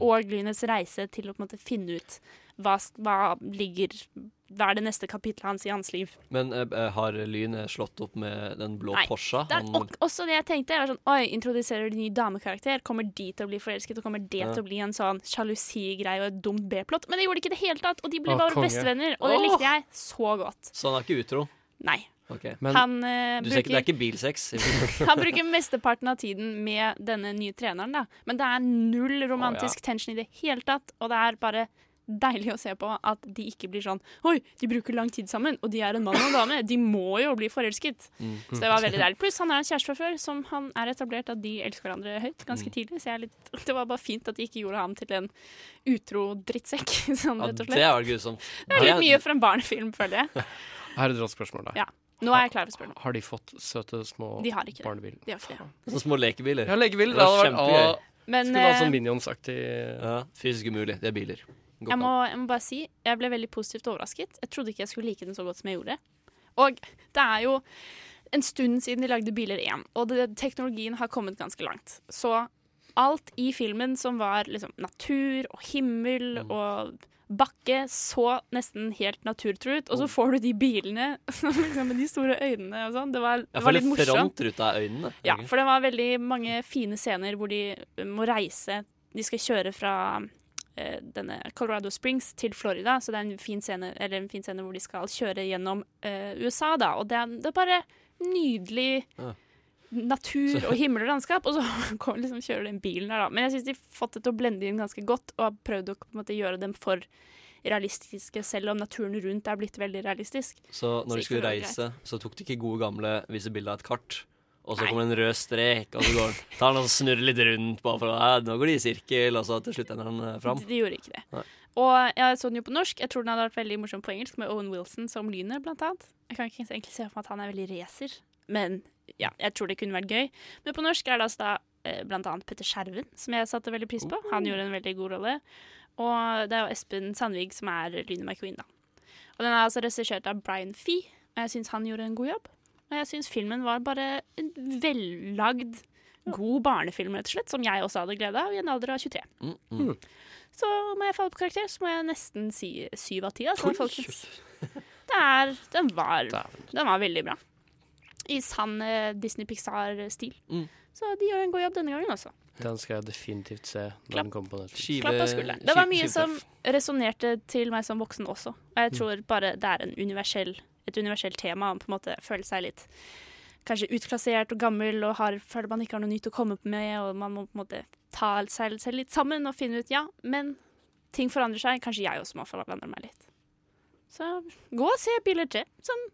Speaker 7: Og Lynes reise til å på en måte finne ut hva, hva ligger Hva er det neste kapitlet hans i hans liv?
Speaker 5: Men eh, eh, har Lyn slått opp med den blå
Speaker 7: Nei,
Speaker 5: Porscha?
Speaker 7: Det er
Speaker 5: Han-
Speaker 7: ok- også det jeg tenkte. Jeg var sånn, Oi, Introduserer de ny damekarakter? Kommer de til å bli forelsket? Og kommer det
Speaker 5: Ja.
Speaker 7: til å bli en sånn sjalusigreie og et dumt B-plott? Men det gjorde de ikke i det hele tatt, og de ble
Speaker 5: Å,
Speaker 7: bare
Speaker 5: konge.
Speaker 7: bestevenner. Og det
Speaker 5: Åh!
Speaker 7: likte jeg så godt.
Speaker 5: Så han er ikke utro?
Speaker 7: Nei.
Speaker 5: Ok.
Speaker 7: han, eh,
Speaker 5: du ser ikke, det
Speaker 7: bruker,
Speaker 5: er ikke bilsex?
Speaker 7: han bruker mesteparten av tiden med denne nye treneren, da. Men det er null romantisk tension i det hele tatt, og det er bare Deilig å se på at de ikke blir sånn Oi, de bruker lang tid sammen, og de er en mann og en dame. De må jo bli forelsket.
Speaker 5: Mm.
Speaker 7: Så det var veldig deilig. Pluss han er en kjæreste fra før, som han er etablert at de elsker hverandre høyt ganske
Speaker 5: Mm.
Speaker 7: tidlig. Så jeg er litt, det var bare fint at de ikke gjorde ham til en utro drittsekk, sånn
Speaker 5: Ja,
Speaker 7: rett og
Speaker 5: det
Speaker 7: slett.
Speaker 5: var grusomt.
Speaker 7: Det er litt mye for en barnefilm, føler jeg.
Speaker 8: Her er et rått spørsmål, da.
Speaker 7: Ja. Nå er jeg klar for spørsmål.
Speaker 8: Har de fått søte små
Speaker 7: De har ikke det.
Speaker 8: barnebiler?
Speaker 7: De har ikke det.
Speaker 5: Sånne små lekebiler.
Speaker 8: Ja, lekebiler.
Speaker 5: Det
Speaker 8: Det
Speaker 5: var
Speaker 8: hadde vært
Speaker 5: kjempegøy.
Speaker 8: ah,
Speaker 7: Men,
Speaker 8: Skulle hatt
Speaker 7: eh,
Speaker 8: sånn Minions-aktig
Speaker 5: Ja, Fysisk umulig. Det er biler. Går
Speaker 7: Jeg
Speaker 5: ikke
Speaker 7: må,
Speaker 5: an.
Speaker 7: jeg må bare si, jeg ble veldig positivt overrasket. Jeg trodde ikke jeg skulle like den så godt som jeg gjorde. Og det er jo en stund siden de lagde Biler 1, og det, teknologien har kommet ganske langt. Så alt i filmen som var liksom natur og himmel og bakke, så nesten helt naturtro ut. Og så får du de bilene som liksom, med de store øynene og sånn. Det var, det
Speaker 5: Jeg
Speaker 7: var
Speaker 5: får
Speaker 7: litt
Speaker 5: litt
Speaker 7: morsomt.
Speaker 5: frontruta av øynene.
Speaker 7: Ja, for det var veldig mange fine scener hvor de eh, må reise. De skal kjøre fra eh, denne Colorado Springs til Florida, så det er en fin scene, eller en fin scene hvor de skal kjøre gjennom eh, USA, da. Og det er, det er bare nydelig
Speaker 5: Ja.
Speaker 7: natur og himmel og landskap, og så kommer- liksom kjører den bilen der, da. Men jeg syns de har fått det til å blende inn ganske godt, og har prøvd å på en måte, gjøre dem for realistiske, selv om naturen rundt er blitt veldig realistisk.
Speaker 5: Så når
Speaker 7: Så
Speaker 5: de
Speaker 7: gikk
Speaker 5: skulle
Speaker 7: det veldig
Speaker 5: reise, så tok de ikke gode gamle vise bilde av et kart. Og så kommer det en rød strek, og så går han, tar han og snurrer litt rundt. Bare for, «Æ, nå går de i sirkel, og så til slutt ender han eh, fram.
Speaker 7: De, de gjorde ikke det.
Speaker 5: Nei.
Speaker 7: Og jeg så den jo på norsk. Jeg tror den hadde vært veldig morsom på engelsk, med Owen Wilson som lynet, blant annet. Jeg kan ikke egentlig se for meg at han er veldig racer, men ja, jeg tror det kunne vært gøy. Men på norsk er det altså da eh, blant annet Petter Skjerven, som jeg satte veldig pris på.
Speaker 5: Oh.
Speaker 7: Han gjorde en veldig god rolle. Og det er jo Espen Sandvig som er Lynet McQueen, da. Og den er altså regissert av Brian Fee, og jeg syns han gjorde en god jobb. Og jeg syns filmen var bare en vellagd, god barnefilm, rett og slett, som jeg også hadde glede av i en alder av 23.
Speaker 5: Mm, mm.
Speaker 7: Så må jeg falle på karakter, så må jeg nesten si sånn, syv av ti. Altså, folkens. Det er, den, var, den var veldig bra. I sann eh, Disney Pixar-stil.
Speaker 5: Mm.
Speaker 7: Så de gjør en god jobb denne gangen altså. også.
Speaker 8: Den skal jeg definitivt se når
Speaker 7: Klapp.
Speaker 8: den kommer på Netflix.
Speaker 7: Klapp på skulderen. Det var mye som resonnerte til meg som voksen også. Og jeg
Speaker 8: Mm.
Speaker 7: tror bare det er en universell, et universelt tema å på en måte føle seg litt kanskje utklassert og gammel og har, føler man ikke har noe nytt å komme med, og man må på en måte ta seg selv litt sammen og finne ut ja, men ting forandrer seg. Kanskje jeg også må forandre meg litt. Så gå og se Billie J. Sånn.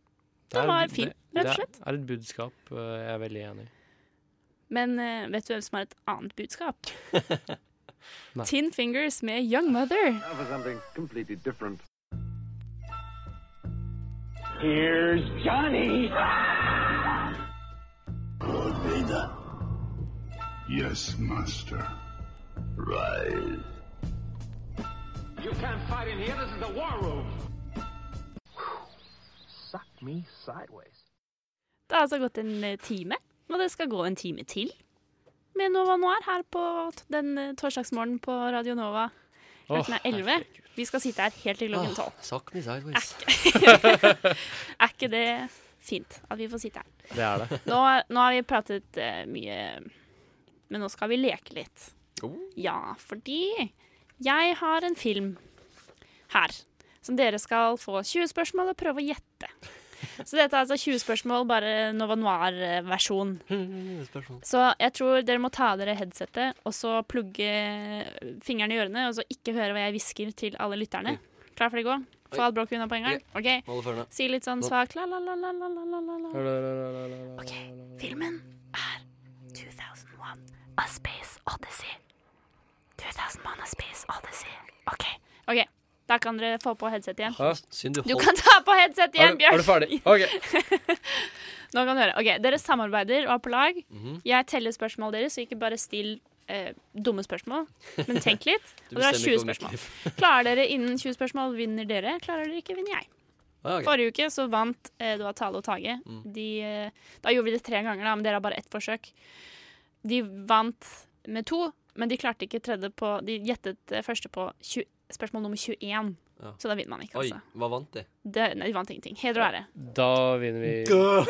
Speaker 8: Det er-
Speaker 7: Den var fin,
Speaker 8: det-
Speaker 7: rett og slett.
Speaker 8: Det er et budskap eh, jeg er veldig enig i.
Speaker 7: Men eh, vet du hvem som har et annet budskap?
Speaker 8: Nei.
Speaker 7: Tin Fingers med Young Mother.
Speaker 13: Now for something completely different.
Speaker 12: Here's Johnny.
Speaker 14: Lord Vader. Yes, Master. Rise.
Speaker 12: You can't fight in here. This is the war room.
Speaker 15: Suck me sideways.
Speaker 7: Det har altså gått en eh, time, og det skal gå en time til. Med Nova Noir her på t- den eh, torsdagsmorgenen på Radio Nova. Klokken
Speaker 5: Åh,
Speaker 7: er 11. Vi skal sitte her helt til klokken 12.
Speaker 5: Suck me sideways.
Speaker 7: Er ikke det fint at vi får sitte her?
Speaker 5: Det er det.
Speaker 7: Nå, nå har vi pratet eh, mye, men nå skal vi leke litt.
Speaker 5: Oh.
Speaker 7: Ja, fordi jeg har en film her som dere skal få 20 spørsmål og prøve å gjette. Så dette er altså 20 spørsmål, bare Nova Noir-versjon. Så jeg tror dere må ta av dere headsetet og så plugge fingrene i ørene og så ikke høre hva jeg hvisker til alle lytterne. Klar for det gå? Få alt bråket unna på en gang? OK.
Speaker 5: Hold det for øynene.
Speaker 7: Si litt sånn
Speaker 5: Nå.
Speaker 7: svakt la, la, la, la, la, la, la, la.
Speaker 8: OK.
Speaker 7: Filmen er 2001 A Space Odyssey. 2001 A Space Odyssey. OK. ok, Da kan dere få på headset igjen.
Speaker 8: Hæ? Synd du
Speaker 7: Du
Speaker 8: holdt-
Speaker 7: kan ta på headset
Speaker 8: Er
Speaker 7: igjen,
Speaker 8: du-
Speaker 7: Bjørn.
Speaker 8: er du ferdig? OK.
Speaker 7: Nå kan du høre. Ok, Dere samarbeider og er på lag.
Speaker 8: Mhm.
Speaker 7: Jeg teller spørsmål deres, så ikke bare still eh, dumme spørsmål. Men tenk litt.
Speaker 5: Du
Speaker 7: og dere har 20
Speaker 5: bestemmer ikke over mitt
Speaker 7: spørsmål.
Speaker 5: liv.
Speaker 7: Klarer dere innen 20 spørsmål, vinner dere. Klarer dere ikke, vinner jeg.
Speaker 5: Ah, ok.
Speaker 7: Forrige uke så vant eh, det var Tale og Tage.
Speaker 5: Mm.
Speaker 7: De, eh, da gjorde vi det tre ganger, da, men dere har bare ett forsøk. De vant med to, men de klarte ikke tredje på De gjettet eh, første på 20, spørsmål nummer 21,
Speaker 5: Ja.
Speaker 7: så da vinner man ikke,
Speaker 5: Oi,
Speaker 7: altså.
Speaker 5: hva vant de?
Speaker 7: Det, nei, de vant ingenting. Heder og ære.
Speaker 8: Da vinner vi
Speaker 5: Gø.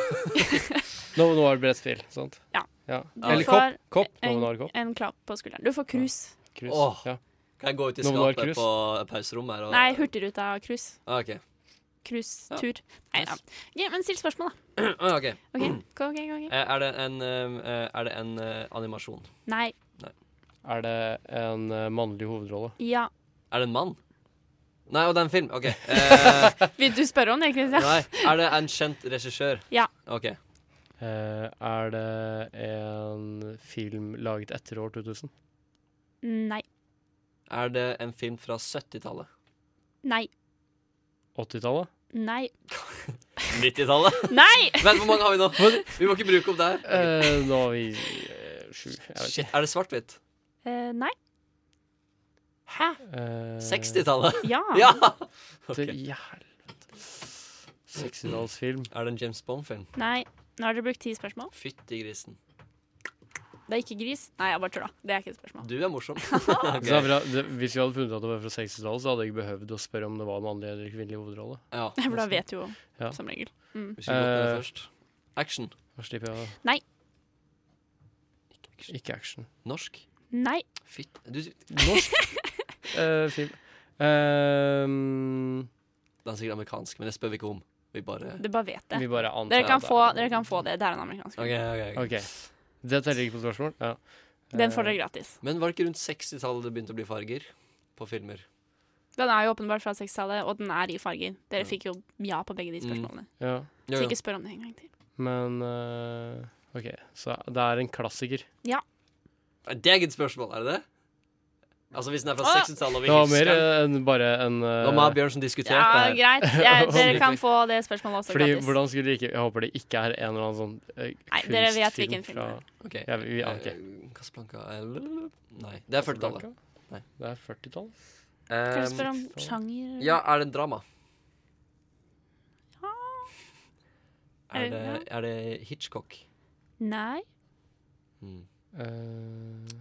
Speaker 8: Novo Noir brettspill, sant?
Speaker 7: Ja. Du
Speaker 8: Eller
Speaker 7: får
Speaker 8: kopp. kopp. Novo
Speaker 7: en,
Speaker 8: Noir kopp.
Speaker 7: en klapp på skulderen. Du får krus.
Speaker 8: Krus.
Speaker 5: Åh.
Speaker 8: Ja.
Speaker 5: Kan jeg gå ut i
Speaker 8: Nå må du ha
Speaker 5: skapet
Speaker 8: krus.
Speaker 5: på pauserommet her? Og...
Speaker 7: Nei, Hurtigruta og krus.
Speaker 5: Ah, ok.
Speaker 7: Cruisetur. Nei da. Ok, men still spørsmål, da.
Speaker 5: Ah, ok.
Speaker 7: OK,
Speaker 8: Mm.
Speaker 7: gå, ok, gå, ok.
Speaker 5: Eh, Er det en, eh, eh, er det en eh, animasjon?
Speaker 7: Nei.
Speaker 8: Er det en eh, mannlig hovedrolle?
Speaker 7: Ja.
Speaker 5: Er det en mann? Nei, og det er en film. OK. Eh,
Speaker 7: Vil du spørre om det, Christian?
Speaker 5: nei, er det en kjent regissør?
Speaker 7: Ja.
Speaker 5: OK.
Speaker 8: Eh, er det en film laget etter år 2000?
Speaker 7: Nei.
Speaker 5: Er det en film fra 70-tallet?
Speaker 7: Nei.
Speaker 8: 80-tallet?
Speaker 7: Nei.
Speaker 5: 90-tallet?
Speaker 7: Nei!
Speaker 5: Vent, hvor mange har vi nå? Vi må ikke bruke opp det her.
Speaker 8: Eh, nå har vi eh, sju. Jeg vet
Speaker 5: Shit, er det svart-hvitt?
Speaker 7: Eh, nei. Hæ?
Speaker 8: Eh,
Speaker 5: 60-tallet?
Speaker 7: Ja.
Speaker 5: ja.
Speaker 8: Til helvete. 60-tallsfilm.
Speaker 5: Er det en James Bond-film?
Speaker 7: Nei. Nå har dere brukt ti spørsmål.
Speaker 5: Fytti grisen.
Speaker 7: Det er ikke gris. Nei, jeg bare tulla. Det er ikke et spørsmål.
Speaker 5: Du er morsom.
Speaker 8: Så det er bra. Det, hvis vi hadde funnet at det var fra 60-tallet, så hadde jeg ikke behøvd å spørre om det var mannlig eller kvinnelig hovedrolle.
Speaker 5: Ja.
Speaker 7: For da vet du jo,
Speaker 8: Ja.
Speaker 7: som regel. Mm.
Speaker 5: Vi skal gå på det
Speaker 8: Eh,
Speaker 5: først. Action.
Speaker 8: Da slipper jeg å
Speaker 7: Nei.
Speaker 8: Ikke action.
Speaker 5: Norsk?
Speaker 7: Nei.
Speaker 5: Fytt... Du
Speaker 8: Norsk eh, film. Ehm,
Speaker 5: Den er sikkert amerikansk, men det spør vi ikke om. Vi bare
Speaker 7: Du bare vet det.
Speaker 8: Vi bare antar
Speaker 7: dere, kan
Speaker 8: det.
Speaker 7: få, dere kan få det. Det er en amerikansk. film.
Speaker 5: OK. ok, ok.
Speaker 8: OK. Det teller ikke på spørsmål? Ja.
Speaker 7: Den
Speaker 8: Eh.
Speaker 7: får dere gratis.
Speaker 5: Men var det ikke rundt 60-tallet det begynte å bli farger på filmer?
Speaker 7: Den er jo åpenbart fra 60-tallet, og den er i farger. Dere fikk jo ja på
Speaker 8: Mm.
Speaker 7: begge de spørsmålene.
Speaker 8: Ja.
Speaker 7: Så ikke spør om det en gang til.
Speaker 8: Men eh, OK, så det er en klassiker.
Speaker 7: Ja.
Speaker 5: Er Det er ikke et spørsmål, er det det? Altså Hvis den er fra
Speaker 7: Å, ja.
Speaker 5: 60-tallet og vi
Speaker 8: Det var
Speaker 5: husker
Speaker 8: mer
Speaker 5: den
Speaker 8: enn bare en uh,
Speaker 5: Det var meg og Bjørn som diskuterte
Speaker 7: Ja,
Speaker 5: det her.
Speaker 7: greit. Jeg, dere kan få det spørsmålet også
Speaker 8: Fordi
Speaker 7: gratis.
Speaker 8: hvordan skulle de ikke Jeg håper det ikke er en eller annen sånn eh, kunstfilm
Speaker 7: Nei, dere vet hvilken film
Speaker 8: fra
Speaker 7: det
Speaker 5: Ok.
Speaker 8: ja, vi, ah, vi aner ikke.
Speaker 5: Eh, Casablanca eller- Nei, det er 40-tallet. Nei.
Speaker 8: Det er 40-tall.
Speaker 7: Kan
Speaker 5: Um,
Speaker 7: du spørre om sjanger?
Speaker 5: Eh, Ja, er det en drama? Er
Speaker 7: Er
Speaker 5: det,
Speaker 7: det-
Speaker 5: er det Hitchcock?
Speaker 7: Nei.
Speaker 5: Mm.
Speaker 8: Eh,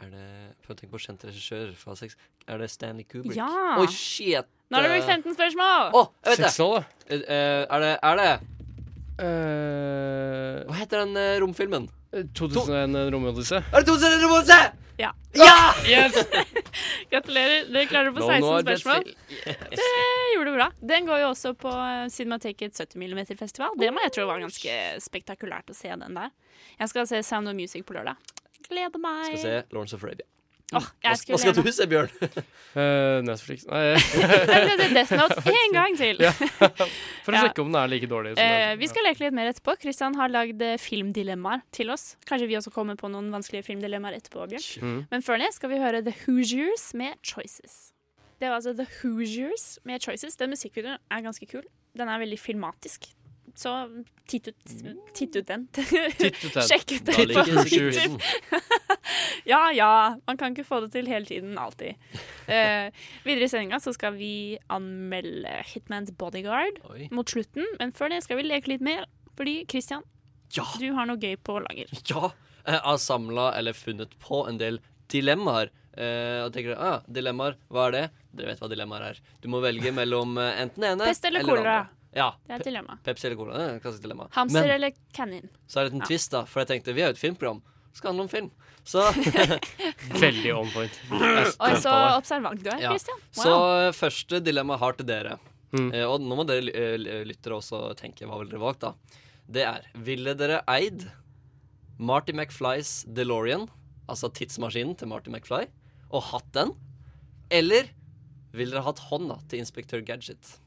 Speaker 5: Er det Prøv å tenke på kjent regissør fra seks Er det Stanley Kubrick?
Speaker 7: Ja.
Speaker 5: Oi, shit!
Speaker 7: Nå har du brukt 15 spørsmål!
Speaker 5: Å, jeg vet det!
Speaker 8: Sexhall, da.
Speaker 5: Eh, eh, er det Er det Hva heter den eh, romfilmen?
Speaker 8: 2001 en eh, romodysse.
Speaker 5: Er det 2001 romodysse?!
Speaker 7: Ja!
Speaker 5: Ja!
Speaker 8: Yes!
Speaker 7: Gratulerer. Dere klarer på
Speaker 8: Nå-
Speaker 7: 16
Speaker 8: nå er det
Speaker 7: spørsmål.
Speaker 8: til.
Speaker 7: Det gjorde du bra. Den går jo også på eh, Cinemateket 70 mm-festival. Det må jeg tro var ganske spektakulært å se den der. Jeg skal se Sound of Music på lørdag. Gleder meg.
Speaker 5: Skal se Lawrence of Arabia.
Speaker 7: Åh, jeg
Speaker 5: Hva-
Speaker 7: skulle
Speaker 5: Hva skal
Speaker 7: gjerne-
Speaker 5: du se, Bjørn?
Speaker 8: Eh, Netflix Nei. eh,
Speaker 7: Jeg skal se Death Note en gang til.
Speaker 8: Ja. For å
Speaker 7: Ja.
Speaker 8: sjekke om den er like dårlig. Som
Speaker 7: Eh,
Speaker 8: den.
Speaker 7: vi skal leke litt mer etterpå. Kristian har lagd eh, filmdilemmaer til oss. Kanskje vi også kommer på noen vanskelige filmdilemmaer etterpå, Bjørn.
Speaker 8: Mhm.
Speaker 7: Men før det skal vi høre The Hoosiers med Choices. Det var altså The Hoosiers med Choices. Den musikkvideoen er ganske kul. Den er veldig filmatisk. Så titt ut, titt ut den.
Speaker 8: ut den.
Speaker 7: Sjekk ut
Speaker 8: Da
Speaker 7: den på
Speaker 8: liker Hoosiers.
Speaker 7: YouTube. ja ja, man kan ikke få det til hele tiden, alltid. Eh, videre i sendinga så skal vi anmelde Hitmans Bodyguard
Speaker 5: Oi.
Speaker 7: mot slutten, men før det skal vi leke litt mer, fordi Christian,
Speaker 5: Ja.
Speaker 7: du har noe gøy på lager.
Speaker 5: Ja, jeg har samla eller funnet på en del dilemmaer. Eh, og tenker ah, dilemmaer, hva er det? Dere vet hva dilemmaer er. Du må velge mellom eh, enten det ene
Speaker 7: Pest eller
Speaker 5: det
Speaker 7: kolera?
Speaker 5: andre. Ja,
Speaker 7: Det er et dilemma.
Speaker 5: pe- Pepsi eller cola. Det er kanskje et dilemma.
Speaker 7: Hamster
Speaker 5: Men
Speaker 7: eller kanin?
Speaker 5: så er det en
Speaker 7: Ja.
Speaker 5: twist, da. For jeg tenkte vi er jo et filmprogram. Det skal handle om film. Så
Speaker 8: Veldig on point.
Speaker 7: Oi, så observant du er,
Speaker 5: Ja.
Speaker 7: Christian.
Speaker 5: Så
Speaker 7: Wow.
Speaker 5: eh, første dilemma har til dere.
Speaker 8: Mm.
Speaker 5: Eh, og nå må dere ly- eh, l- lyttere også tenke hva ville dere valgt, da. Det er Ville dere eid Marty McFlys DeLorean, altså tidsmaskinen til Marty McFly, og hatt den? Eller ville dere hatt hånda til Inspektør Gadget?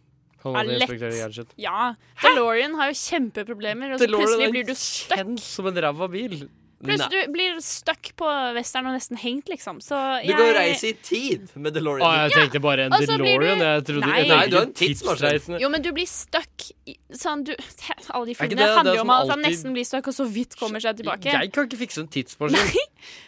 Speaker 8: Hånda til
Speaker 7: Ja, lett.
Speaker 8: Inspektør Gadget.
Speaker 7: Ja. DeLorean har jo kjempeproblemer, og så
Speaker 8: DeLorean
Speaker 7: plutselig
Speaker 8: er
Speaker 7: blir du stuck.
Speaker 8: Kjent som en ræva bil.
Speaker 7: Plutselig du blir stuck på western og nesten hengt, liksom. Så
Speaker 5: Du kan jo reise i tid med
Speaker 8: Å,
Speaker 5: DeLorean.
Speaker 8: Ah, jeg tenkte bare en
Speaker 7: og så blir
Speaker 8: DeLorean.
Speaker 7: du-
Speaker 8: Jeg trodde
Speaker 7: Nei.
Speaker 8: jeg
Speaker 5: Nei,
Speaker 8: tenkte
Speaker 5: du har en
Speaker 8: ikke
Speaker 5: tidsmaskin.
Speaker 7: Jo, men du blir stuck i sånn, du, Alle de
Speaker 8: Er
Speaker 7: filmene
Speaker 8: ikke det- det er
Speaker 7: handler jo
Speaker 8: som
Speaker 7: om at han
Speaker 8: alltid-
Speaker 7: nesten blir stuck, og så vidt kommer seg tilbake.
Speaker 8: Jeg kan ikke fikse en tidsmaskin.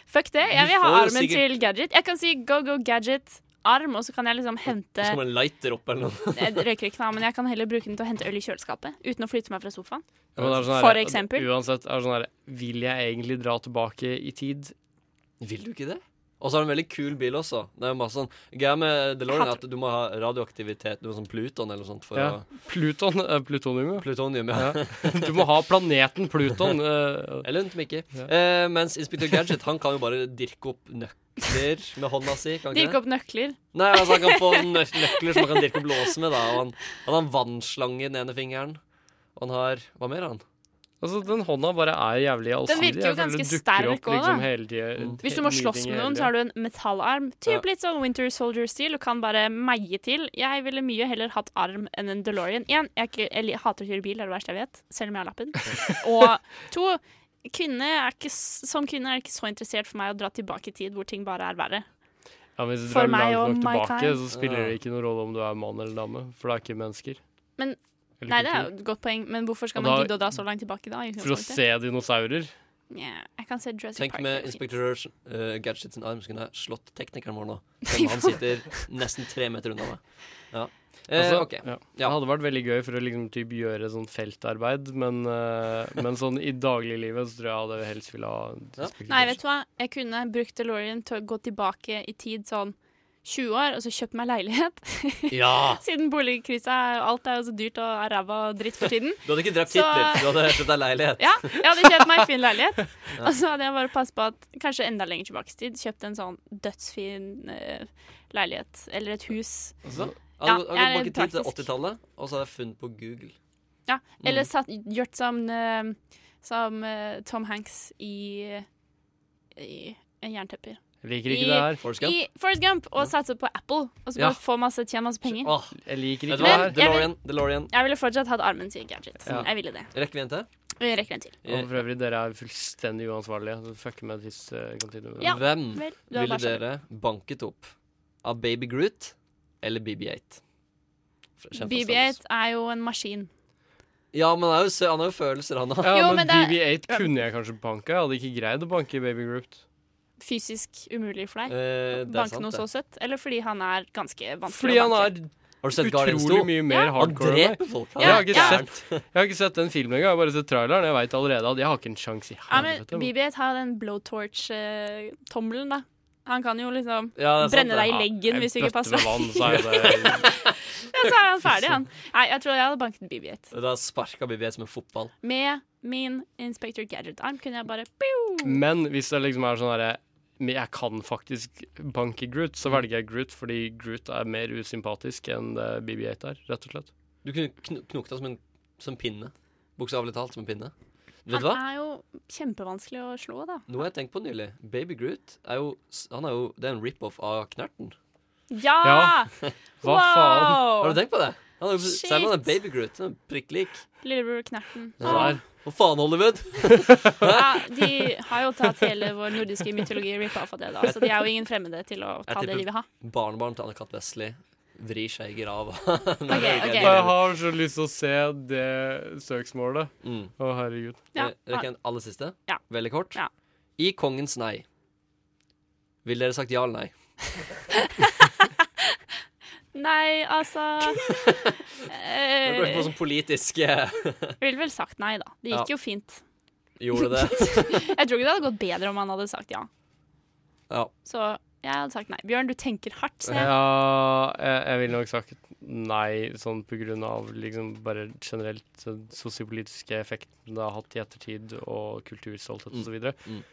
Speaker 7: Fuck det. Jeg vil ha
Speaker 8: får jo
Speaker 7: armen
Speaker 8: sikkert-
Speaker 7: til Gadget. Jeg kan si go, go, Gadget, arm, og så kan jeg liksom hente
Speaker 5: Som en lighter opp eller noe.
Speaker 7: Jeg røyker ikke, da, men jeg kan heller bruke den til å hente øl i kjøleskapet uten å flytte meg fra sofaen.
Speaker 8: Ja, men det er sånn her-
Speaker 7: For eksempel.
Speaker 8: Uansett, er det sånn her, vil jeg egentlig dra tilbake i tid?
Speaker 5: Vil du ikke det? Og så har du en veldig kul bil også. Det er jo masse sånn Greia med DeLorean er at du må ha radioaktivitet, du må ha sånn Pluton eller noe sånt for
Speaker 8: Ja.
Speaker 5: å
Speaker 8: Pluton, eh, plutonium, ja.
Speaker 5: Plutonium, ja.
Speaker 8: Du må ha planeten Pluton. eh,
Speaker 5: Eller hun Mickey.
Speaker 8: Ja.
Speaker 5: Eh, mens Inspektør Gadget han kan jo bare dirke opp nøkler med hånda si. Kan han
Speaker 7: Dirke
Speaker 5: ikke det?
Speaker 7: opp nøkler.
Speaker 5: Nei, altså Han kan få nø- nøkler som han kan dirke opp låsen med. da Og Han, han har en vannslange i den ene fingeren. Og han har Hva mer har han?
Speaker 8: Altså, den hånda bare er jævlig allsidig.
Speaker 7: Den virker jo
Speaker 8: Jeg føler det
Speaker 7: ganske
Speaker 8: dukker
Speaker 7: sterk
Speaker 8: opp,
Speaker 7: også, da.
Speaker 8: liksom, hele tiden-
Speaker 7: Hvis du må
Speaker 8: nye
Speaker 7: slåss
Speaker 8: ting
Speaker 7: med
Speaker 8: hele
Speaker 7: noen,
Speaker 8: tiden.
Speaker 7: så har du en metallarm. Typ litt sånn Winter Soldier-stil og kan bare meie til. Jeg ville mye heller hatt arm enn en DeLorean. Én, jeg, er ikke- jeg li- hater å kjøre bil, det er det verste jeg vet, selv om jeg har lappen. Og to, kvinne er ikke, s- som kvinne er det ikke så interessert for meg å dra tilbake i tid hvor ting bare er verre.
Speaker 8: Ja, men hvis du
Speaker 7: For
Speaker 8: drar
Speaker 7: meg og
Speaker 8: langt nok
Speaker 7: my
Speaker 8: tilbake,
Speaker 7: time.
Speaker 8: så spiller det ikke noen rolle om du er mann eller dame, for det er ikke mennesker.
Speaker 7: Men
Speaker 8: Eller
Speaker 7: Nei, det er
Speaker 8: kultur.
Speaker 7: jo et godt poeng, men hvorfor skal
Speaker 8: Og
Speaker 7: man
Speaker 8: da-
Speaker 7: gidde å dra så langt tilbake da? i
Speaker 8: For å
Speaker 7: utgangspunktet?
Speaker 8: se dinosaurer.
Speaker 7: Nja, jeg kan se Jurassic
Speaker 5: Tenk
Speaker 7: Park.
Speaker 5: med
Speaker 7: det er fint.
Speaker 5: Inspektør eh, Gadget sin arm, så kunne jeg slått teknikeren vår nå. Selv om han sitter nesten tre meter unna meg. Ja. Eh,
Speaker 8: Altså,
Speaker 5: ok.
Speaker 8: ja. Det hadde vært veldig gøy for å liksom, typ, gjøre sånn feltarbeid, men, eh, men sånn i dagliglivet så tror jeg hadde helst ville ha Inspektør
Speaker 7: Nei, vet
Speaker 8: Gadget.
Speaker 7: du hva? Jeg kunne brukt DeLorean til å gå tilbake i tid sånn 20 år, og så kjøpt meg leilighet.
Speaker 5: Ja.
Speaker 7: Siden boligkrisa er alt er jo så dyrt og er ræva og dritt for tiden.
Speaker 5: Du hadde ikke drept
Speaker 7: Så-
Speaker 5: Hitler, du hadde kjøpt deg leilighet.
Speaker 7: Ja, jeg hadde kjøpt meg en fin leilighet. Og så hadde jeg bare passet på at kanskje enda lenger tilbake i tid kjøpt en sånn dødsfin eh, leilighet eller et hus.
Speaker 5: Altså,
Speaker 7: Ja,
Speaker 5: hadde, hadde
Speaker 7: jeg er
Speaker 5: gått tilbake til
Speaker 7: praktisk.
Speaker 5: 80-tallet, og så hadde jeg funnet på Google.
Speaker 7: Ja,
Speaker 5: Mm.
Speaker 7: eller satt, gjort som, eh, som eh, Tom Hanks i, i en jerntepper.
Speaker 8: Jeg liker ikke
Speaker 7: I-
Speaker 8: det her.
Speaker 5: Forrest
Speaker 7: I Forrest Gump, og satse på Apple. Og så
Speaker 5: Ja.
Speaker 7: bare få masse, tjene masse penger.
Speaker 5: Åh,
Speaker 8: Jeg liker ikke
Speaker 5: vet du
Speaker 8: det
Speaker 5: hva?
Speaker 8: her.
Speaker 7: jeg vil-
Speaker 5: DeLorean. DeLorean.
Speaker 7: Jeg ville fortsatt hatt armen til Gadget.
Speaker 8: Ja.
Speaker 7: Jeg ville det.
Speaker 5: Rekker vi en til?
Speaker 7: Vi rekker en til.
Speaker 8: Og for øvrig, dere er fullstendig uansvarlige. Så fuck med tids eh, continuum.
Speaker 7: Ja,
Speaker 5: Hvem
Speaker 7: vel, du har
Speaker 5: Mm. ville
Speaker 7: bare skjønt.
Speaker 5: dere banket opp? Av Baby Groot eller BB8? Fra- kjent fra Star Wars.
Speaker 7: BB-8 er jo en maskin.
Speaker 5: Ja, men han er jo sø- han har jo følelser, han òg.
Speaker 8: Ja,
Speaker 7: Jo,
Speaker 8: men
Speaker 7: men det-
Speaker 8: BB8 kunne jeg kanskje banka. Jeg hadde ikke greid å banke Baby Groot.
Speaker 7: Fysisk umulig for deg.
Speaker 5: Eh, det er
Speaker 7: Banke
Speaker 5: sant,
Speaker 7: noe
Speaker 5: det.
Speaker 7: så søtt. Eller fordi han er ganske vanskelig
Speaker 8: Fordi
Speaker 7: å
Speaker 8: han
Speaker 7: banke.
Speaker 8: er
Speaker 5: Har du sett Guardians 2?
Speaker 8: utrolig mye mer
Speaker 5: Ja.
Speaker 8: hardcore
Speaker 5: Han
Speaker 8: enn
Speaker 5: dreper
Speaker 8: meg.
Speaker 5: folk, han.
Speaker 8: Jeg har
Speaker 5: Ja,
Speaker 8: ikke
Speaker 5: ja.
Speaker 8: sett Jeg har ikke sett den filmen engang. Jeg har bare sett traileren. Jeg veit allerede at jeg har ikke en sjanse i
Speaker 7: Ja, men E,
Speaker 8: helvete.
Speaker 7: BB-8 har den blowtorch-tommelen, eh, da. Han kan jo liksom
Speaker 5: Ja, det er sant,
Speaker 7: brenne deg i
Speaker 5: det.
Speaker 7: leggen
Speaker 5: Ja,
Speaker 7: hvis du
Speaker 5: en
Speaker 7: ikke passer
Speaker 5: bøtte med vann, så er det-
Speaker 7: ja, så er han ferdig, han. Nei, jeg tror jeg hadde banket BB-8.
Speaker 5: Da sparka BB som en fotball.
Speaker 7: Med min Inspector Gadget-arm kunne jeg bare pew!
Speaker 8: Men hvis det liksom er sånn herre men jeg kan faktisk banke Groot, så velger jeg Groot fordi Groot er mer usympatisk enn det BB8 er, rett og slett.
Speaker 5: Du kunne kn knokt deg som en som pinne. Bokstavelig talt som en pinne. Vet
Speaker 7: Han
Speaker 5: du hva?
Speaker 7: er jo kjempevanskelig å slå, da.
Speaker 5: Noe jeg tenkte på nylig. Baby Groot er jo, han er jo Det er en rip-off av Knerten.
Speaker 7: Ja! Wow!
Speaker 5: Har du tenkt på det? Han er, jo-
Speaker 7: Shit.
Speaker 5: selv om han er Baby Groot, han er prikk lik.
Speaker 7: Lillebror Knerten.
Speaker 5: Der. Hva faen, Hollywood?
Speaker 7: Ja, de har jo tatt hele vår nordiske mytologi rip-off av det, da. Så de er jo ingen fremmede til å ta det livet har.
Speaker 5: barnebarn til Anne-Kat. Vestli vrir seg i grava.
Speaker 7: ok.
Speaker 8: Jeg har så lyst til å se det søksmålet. Å, herregud.
Speaker 5: Ja.
Speaker 7: ah,
Speaker 5: Rekker jeg en aller siste?
Speaker 7: Ja.
Speaker 5: Veldig kort. I Kongens nei, ville dere sagt ja eller nei?
Speaker 7: Nei, altså
Speaker 5: Det
Speaker 7: eh,
Speaker 5: ble på sånn politisk eh,
Speaker 7: Ville vel sagt nei, da. Det
Speaker 5: Ja.
Speaker 7: gikk jo fint.
Speaker 5: Gjorde det?
Speaker 7: Jeg tror ikke det hadde gått bedre om han hadde sagt ja.
Speaker 5: Ja.
Speaker 7: Så jeg hadde sagt nei. Bjørn, du tenker hardt, ser jeg.
Speaker 8: Ja, jeg, jeg ville nok sagt nei, sånn på grunn av liksom bare generelt den sosiopolitiske effekten det har hatt i ettertid, og kulturstolthet og så videre.
Speaker 7: Jeg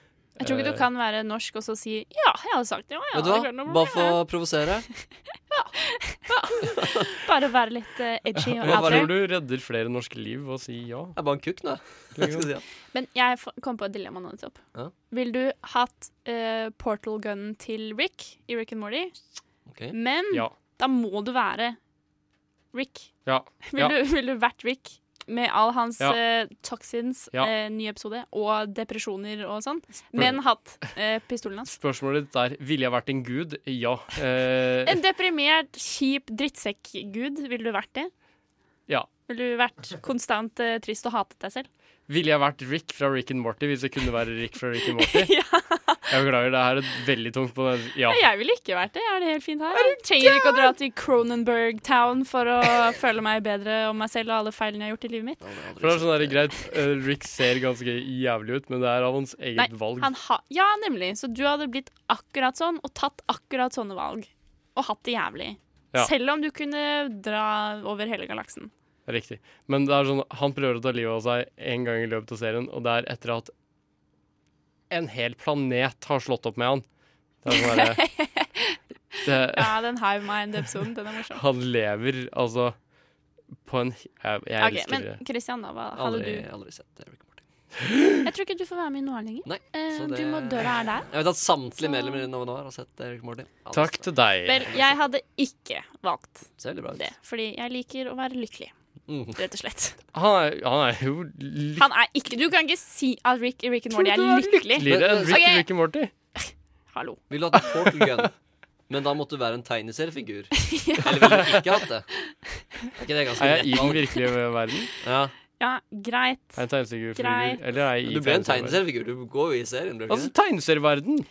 Speaker 7: tror ikke du
Speaker 8: Eh,
Speaker 7: kan være norsk og så si ja, jeg hadde sagt ja. ja
Speaker 5: Vet du
Speaker 7: det
Speaker 5: hva?
Speaker 7: går
Speaker 5: Bare
Speaker 7: bra».
Speaker 5: for å provosere.
Speaker 7: Bare være litt eh, edgy og
Speaker 8: Hva
Speaker 7: out
Speaker 8: tror
Speaker 7: there.
Speaker 8: du redder flere norske liv ved å si ja?
Speaker 5: Jeg er bare en kukk nå.
Speaker 8: Liksom.
Speaker 7: Men jeg f- kom på et dilemma nå nettopp.
Speaker 5: Ja.
Speaker 7: Vil du hatt eh, portal gunnen til Rick i Rick and Morty?
Speaker 5: Ok.
Speaker 7: Men
Speaker 8: Ja.
Speaker 7: da må du være Rick.
Speaker 8: Ja.
Speaker 7: Vil,
Speaker 8: ja.
Speaker 7: du, vil du vært Rick med all hans
Speaker 8: Ja.
Speaker 7: eh, toxins,
Speaker 8: Ja.
Speaker 7: eh, ny episode, og depresjoner og sånn, men hatt eh, pistolen hans?
Speaker 8: Spørsmålet ditt er ville jeg vært en gud? Ja. Eh,
Speaker 7: En deprimert, kjip drittsekk-gud, ville du vært det?
Speaker 8: ja.
Speaker 7: Ville du vært konstant eh, trist og hatet deg selv?
Speaker 8: Ville jeg vært Rick fra Rick and Morty hvis jeg kunne være Rick fra Rick and Morty? Jeg beklager, det her er veldig tungt på den. Ja.
Speaker 7: Jeg ville ikke vært det. Jeg har det helt fint her. Jeg trenger ikke å dra til Cronenberg Town for å føle meg bedre om meg selv og alle feilene jeg har gjort i livet mitt.
Speaker 8: For det er sånn der, greit, eh, Rick ser ganske jævlig ut, men det er av hans eget
Speaker 7: Nei,
Speaker 8: valg.
Speaker 7: han ha ja, nemlig. Så du hadde blitt akkurat sånn og tatt akkurat sånne valg. Og hatt det jævlig.
Speaker 8: Ja.
Speaker 7: Selv om du kunne dra over hele galaksen.
Speaker 8: Riktig. Men det er sånn, han prøver å ta livet av seg en gang i løpet av serien, og det er etter at en hel planet har slått opp med han. Det er sånn derre det-
Speaker 7: Ja, den Hive Mind-episoden, den er morsom.
Speaker 8: Han lever altså på en Jeg, jeg
Speaker 7: Ok,
Speaker 8: elsker
Speaker 7: men
Speaker 8: det.
Speaker 7: Christian, da, hva hadde
Speaker 5: Aldri-
Speaker 7: du
Speaker 5: aldri sett Rick
Speaker 7: Jeg tror ikke du får være med i Noir lenger. Eh,
Speaker 5: Så det-
Speaker 7: Du må døra er der.
Speaker 5: Jeg vet at samtlige medlemmer i Nova Noir har sett Rick and Morty. Alle
Speaker 8: Takk til deg.
Speaker 7: Vel, jeg hadde ikke valgt
Speaker 5: ser veldig bra ut.
Speaker 7: det, fordi jeg liker å være lykkelig.
Speaker 5: Mm.
Speaker 7: Rett og slett.
Speaker 8: Han er, han er jo litt
Speaker 7: Han er ikke Du kan ikke si at Rick i Rick and Morty er lykkelig.
Speaker 8: lirere enn Rick,
Speaker 7: Ok,
Speaker 8: Rick and Morty.
Speaker 7: Hallo.
Speaker 5: Ville du hatt en portal gun, men da måtte du være en tegneseriefigur? Eller ville du ikke hatt det? Er ikke det ganske
Speaker 8: Er jeg
Speaker 5: lett
Speaker 8: i den
Speaker 5: valg?
Speaker 8: virkelige verden?
Speaker 5: Ja.
Speaker 7: Ja, greit.
Speaker 8: Er jeg en tegneseriefigur?
Speaker 7: Greit.
Speaker 8: Eller er jeg i
Speaker 5: Du ble en
Speaker 8: tegneserieverden?
Speaker 5: tegneseriefigur. Du går jo i serien, blir du
Speaker 8: Altså,
Speaker 5: ikke det?
Speaker 8: tegneserieverden.
Speaker 7: Nå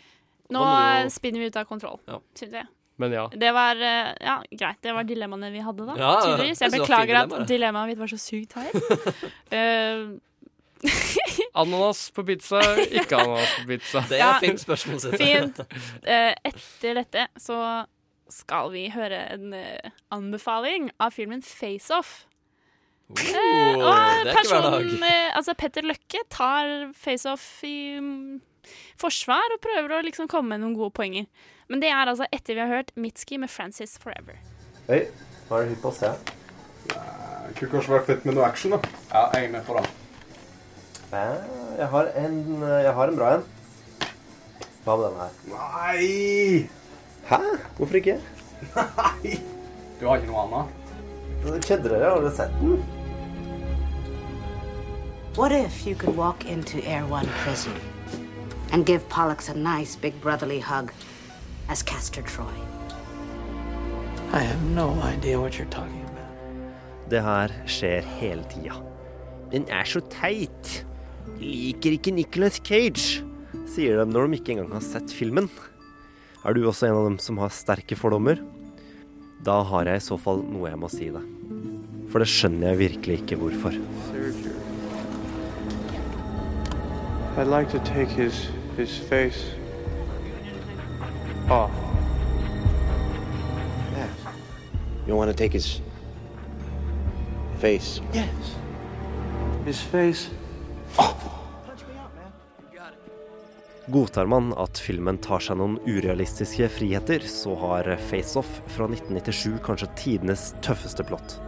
Speaker 5: Da må du jo-
Speaker 7: spinner vi ut av kontroll,
Speaker 5: Ja.
Speaker 7: synes jeg.
Speaker 8: Men ja.
Speaker 7: Det var eh, ja, greit. Det var dilemmaene vi hadde da,
Speaker 8: Ja,
Speaker 7: tydeligvis.
Speaker 8: jeg synes
Speaker 7: Jeg
Speaker 8: det var
Speaker 7: beklager
Speaker 8: fine
Speaker 7: at
Speaker 8: dilemmaer.
Speaker 7: dilemmaet mitt var så sykt teit. Eh,
Speaker 8: Ananas på pizza, ikke ananas på pizza.
Speaker 7: Det er Ja. fint spørsmål, synes jeg. Fint. eh, etter dette så skal vi høre en eh, anbefaling av filmen Face Off. Eh,
Speaker 5: Oh,
Speaker 7: og
Speaker 5: det er ikke hver
Speaker 7: personen, eh, altså Petter Løkke tar face-off i mm, forsvar og prøver å liksom komme med noen gode poenger. Men det er altså etter vi har hørt Mitski med 'Francis Forever'.
Speaker 16: Hei, hva er det hypp å se?
Speaker 17: Det kunne kanskje vært fett med noe action, da. Ja, jeg er med på det.
Speaker 16: Eh, Jeg har en, jeg har en bra en. Hva med denne her?
Speaker 17: Nei!
Speaker 16: Hæ? Hvorfor ikke?
Speaker 17: Du har ikke noe annet?
Speaker 16: Kødder dere? Har dere sett den?
Speaker 3: What if you could walk into Air One prison and give Pollux a nice big brotherly hug as Castor Troy?
Speaker 18: I have no idea what you're talking about.
Speaker 1: Det her skjer hele tida. Den er så teit. Liker ikke Nicolas Cage, sier de når de ikke engang har sett filmen. Er du også en av dem som har sterke fordommer? Da har jeg i så fall noe jeg må si deg. For det skjønner jeg virkelig ikke hvorfor.
Speaker 18: Surgery. I'd like to take his his face
Speaker 19: off. Yes.
Speaker 20: You want to take his face?
Speaker 19: Yes. His face.
Speaker 1: Godtar man at filmen tar seg noen urealistiske friheter, så har Face Off fra 1997 kanskje tidenes tøffeste plott.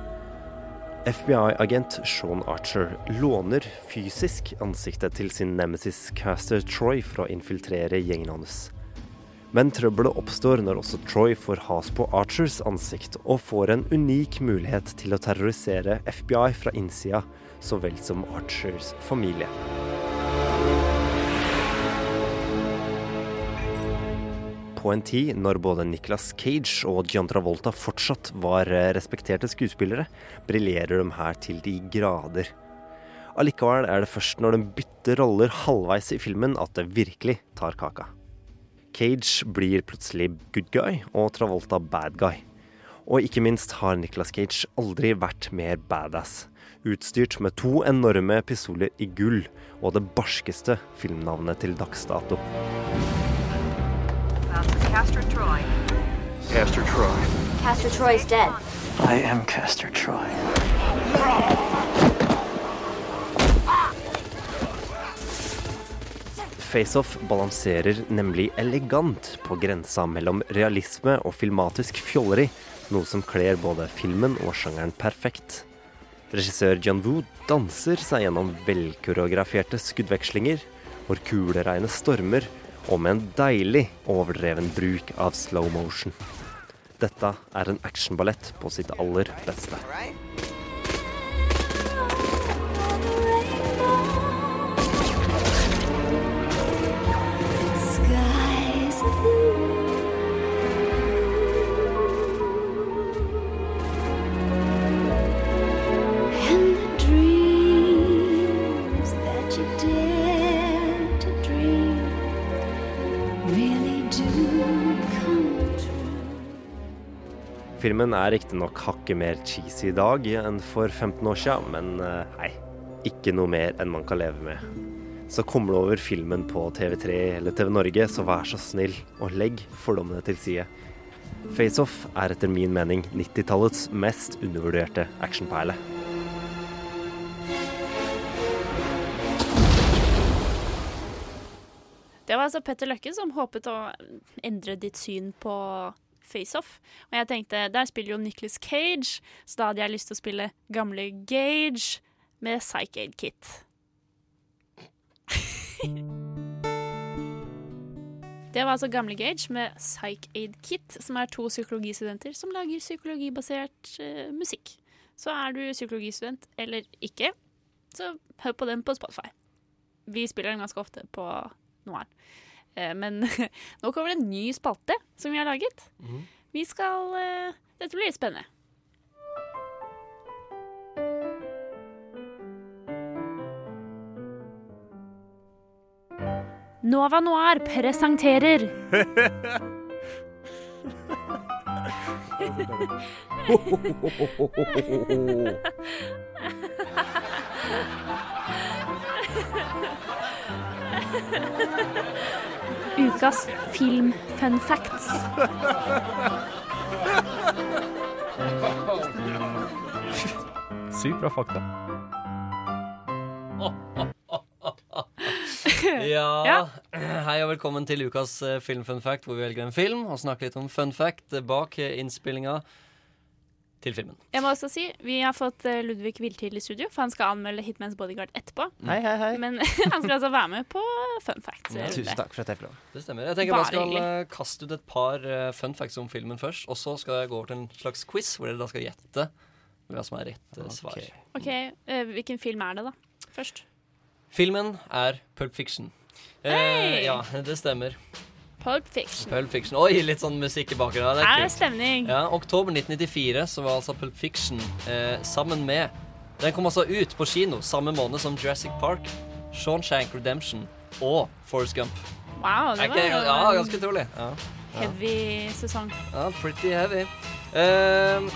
Speaker 1: FBI-agent Sean Archer låner fysisk ansiktet til sin nemesis caster Troy for å infiltrere gjengen hans. Men trøbbelet oppstår når også Troy får has på Archers ansikt, og får en unik mulighet til å terrorisere FBI fra innsida, så vel som Archers familie. på en tid når både Nicolas Cage og John Travolta fortsatt var eh, respekterte skuespillere, briljerer de her til de grader. Allikevel er det først når de bytter roller halvveis i filmen at det virkelig tar kaka. Cage blir plutselig good guy og Travolta bad guy. Og ikke minst har Nicolas Cage aldri vært mer badass. Utstyrt med to enorme pistoler i gull og det barskeste filmnavnet til dags dato.
Speaker 21: Castor Troy.
Speaker 19: Caster Troy.
Speaker 21: Castor Troy's dead.
Speaker 18: I am Castor Troy.
Speaker 1: Faceoff balanserer nemlig elegant på grensa mellom realisme og filmatisk fjolleri, noe som kler både filmen og sjangeren perfekt. Regissør John Woo danser seg gjennom velkoreograferte skuddvekslinger, hvor kuleregnet stormer og med en deilig overdreven bruk av slow motion. Dette er en actionballett på sitt aller beste. Filmen er riktignok hakket mer cheesy i dag enn for 15 år siden, men nei, ikke noe mer enn man kan leve med. Så kommer du over filmen på TV3 eller TV Norge, så vær så snill og legg fordommene til side. FaceOff er etter min mening 90-tallets mest undervurderte actionperle.
Speaker 7: Det var altså Petter Løkke som håpet å endre ditt syn på Face-Off. Og jeg tenkte, der spiller jo Nicholas Cage, så da hadde jeg lyst til å spille gamle Gage med Psych Aid Kit. Det var altså gamle Gage med Psych Aid Kit, som er to psykologistudenter som lager psykologibasert eh, musikk. Så er du psykologistudent eller ikke, så hør på den på Spotify. Vi spiller den ganske ofte på Noir. Eh, Men nå kommer det en ny spalte som vi har laget.
Speaker 19: Mhm.
Speaker 7: Vi skal eh, Dette blir litt spennende. Nova Noir presenterer Ukas film-fun facts.
Speaker 22: Sykt bra fakta.
Speaker 5: Ja. Hei og velkommen til ukas eh, Film Fun Fact, hvor vi velger en film og snakker litt om fun fact eh, bak eh, innspillinga til filmen.
Speaker 7: Jeg må også si, Vi har fått eh, Ludvig Wiltid i studio, for han skal anmelde Hitmans Bodyguard etterpå.
Speaker 5: Mm. Hei, hei, hei.
Speaker 7: Men han skal altså være med på fun facts.
Speaker 5: Ja. Tusen takk
Speaker 22: for at jeg fikk lov.
Speaker 5: Det stemmer. Jeg tenker
Speaker 7: Bare
Speaker 5: bare skal
Speaker 7: hyggelig.
Speaker 5: eh, kaste ut et par eh, fun facts om filmen først, og så skal jeg gå over til en slags quiz, hvor dere da skal gjette hva som er rett eh, svar.
Speaker 7: OK, eh, hvilken film er det, da? Først.
Speaker 5: Filmen er Pulp Fiction. Eh,
Speaker 7: Hei!
Speaker 5: Ja, det stemmer.
Speaker 7: Pulp Fiction.
Speaker 5: Pulp Fiction. Oi, litt sånn musikk i bakgrunnen. Det
Speaker 7: Her
Speaker 5: er
Speaker 7: er
Speaker 5: kult.
Speaker 7: stemning.
Speaker 5: Ja, Oktober 1994 så var altså Pulp Fiction eh, sammen med Den kom altså ut på kino samme måned som Jurassic Park, Shawshank Redemption og Forrest Gump.
Speaker 7: Wow,
Speaker 5: Er
Speaker 7: det var
Speaker 5: ikke-
Speaker 7: jo
Speaker 5: ja,
Speaker 7: en
Speaker 5: ganske utrolig. Ja. Ja.
Speaker 7: heavy sesong.
Speaker 5: Ja, pretty heavy. Ehm,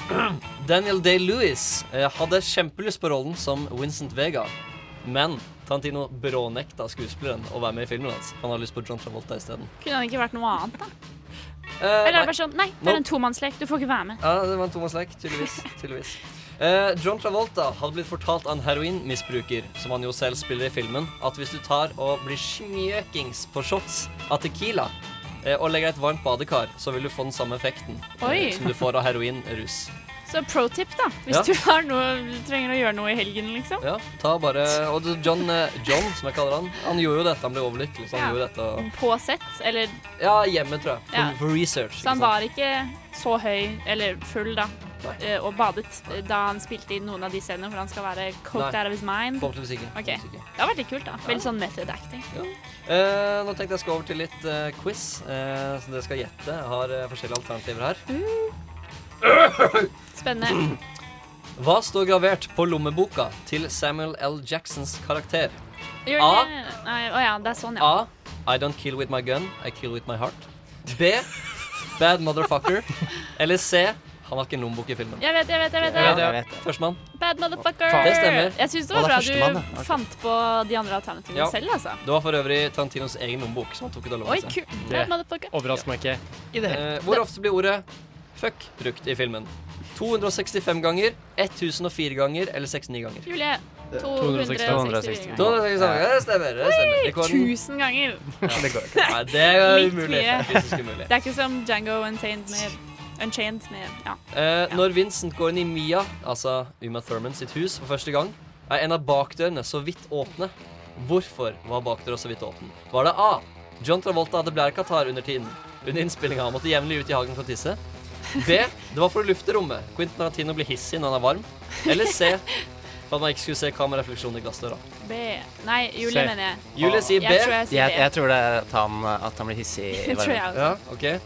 Speaker 5: Daniel Day-Lewis eh, hadde kjempelyst på rollen som Vincent Vega, Men Tantino brånekta skuespilleren å være med i filmen hans. Han har lyst på John Travolta isteden.
Speaker 7: Kunne han ikke vært noe annet, da?
Speaker 5: Eh,
Speaker 7: Eller
Speaker 5: nei.
Speaker 7: er det bare sånn Nei, det
Speaker 5: Nope.
Speaker 7: er en tomannslek. Du får ikke være med.
Speaker 5: Ja, det var en Thomas-lek, tydeligvis. tydeligvis. Eh, John Travolta hadde blitt fortalt av en heroinmisbruker, som han jo selv spiller i filmen, at hvis du tar og blir smjøkings på shots av Tequila eh, og legger deg i et varmt badekar, så vil du få den samme effekten
Speaker 7: Oi.
Speaker 5: eh, som du får av heroinrus.
Speaker 7: Så pro tip, da. Hvis
Speaker 5: Ja.
Speaker 7: du har noe, du trenger å gjøre noe i helgen, liksom.
Speaker 5: Ja, ta bare Og du, John, eh, John, som jeg kaller han, han gjorde jo dette. Han ble overlykkelig, så han
Speaker 7: Ja.
Speaker 5: gjorde dette og-
Speaker 7: På sett, eller
Speaker 5: Ja, hjemme, tror jeg. For,
Speaker 7: Ja.
Speaker 5: for research.
Speaker 7: Så han var ikke så høy, eller full, da, eh, og badet eh, da han spilte i noen av de scenene, for han skal være coked
Speaker 5: Nei.
Speaker 7: out of his mind.
Speaker 5: Forhåpentligvis ikke.
Speaker 7: Ok. Det har vært litt kult, da. Veldig sånn method acting.
Speaker 5: Eh, nå tenkte jeg skal over til litt eh, quiz, eh, så dere skal gjette. Jeg har eh, forskjellige alternativer her.
Speaker 7: Mm. Spennende.
Speaker 5: Hva står gravert på lommeboka til Samuel L. Jacksons karakter?
Speaker 7: Gjør
Speaker 5: A.
Speaker 7: det- Nei, Å ja, det er sånn, ja.
Speaker 5: A. I don't kill with my gun, I kill with my heart. B. Bad motherfucker. Eller C. Han har ikke en lommebok i filmen.
Speaker 7: Jeg vet, jeg vet, jeg vet.
Speaker 5: Ja,
Speaker 7: Jeg vet.
Speaker 5: Førstemann.
Speaker 7: Bad motherfucker.
Speaker 5: Faen, det stemmer.
Speaker 7: Jeg syns det
Speaker 5: Og
Speaker 7: var
Speaker 5: det er
Speaker 7: bra du
Speaker 5: førstemann, ja. Ok.
Speaker 7: fant på de andre alternativene
Speaker 5: Ja.
Speaker 7: selv, altså.
Speaker 5: Det var for øvrig Tarantinos egen lommebok som han tok ut av
Speaker 7: Oi,
Speaker 5: lomma si.
Speaker 7: kult. Bad motherfucker.
Speaker 8: Overrasker meg ikke.
Speaker 5: Eh, hvor ofte blir ordet fuck brukt i filmen? 265 ganger, 1004 ganger eller 69 ganger?
Speaker 7: Julie.
Speaker 5: 260.
Speaker 7: 260
Speaker 5: 260. Ja, det stemmer. Det stemmer. Rekorden-
Speaker 7: 1000 ganger.
Speaker 5: Ja, det går ikke. Nei, det er
Speaker 7: Litt mye.
Speaker 5: umulig. Det er fysisk umulig.
Speaker 7: Det er ikke som Django Unchained med, Unchained med ja.
Speaker 5: Eh, når Vincent går inn i Mia, altså Uma Thurman sitt hus, for første gang, er en av bakdørene så vidt åpne. Hvorfor var bakdøra så vidt åpen? Var det A. John Travolta hadde blærekatarr under tiden. Under innspillinga. Han måtte jevnlig ut i hagen for å tisse. B. Det var for å lufte rommet. Quentin Tarantino blir hissig når han er varm. Eller C. For at man ikke skulle se kamerarefleksjonen i glassdøra.
Speaker 7: B. Nei, Julie
Speaker 23: Se.
Speaker 7: mener jeg.
Speaker 5: Julie sier B.
Speaker 7: Jeg tror jeg sier
Speaker 23: jeg,
Speaker 7: B.
Speaker 23: jeg tror det er at han, at han blir hissig. i
Speaker 7: Det tror jeg
Speaker 23: varmen.
Speaker 7: også.
Speaker 5: Ja, OK.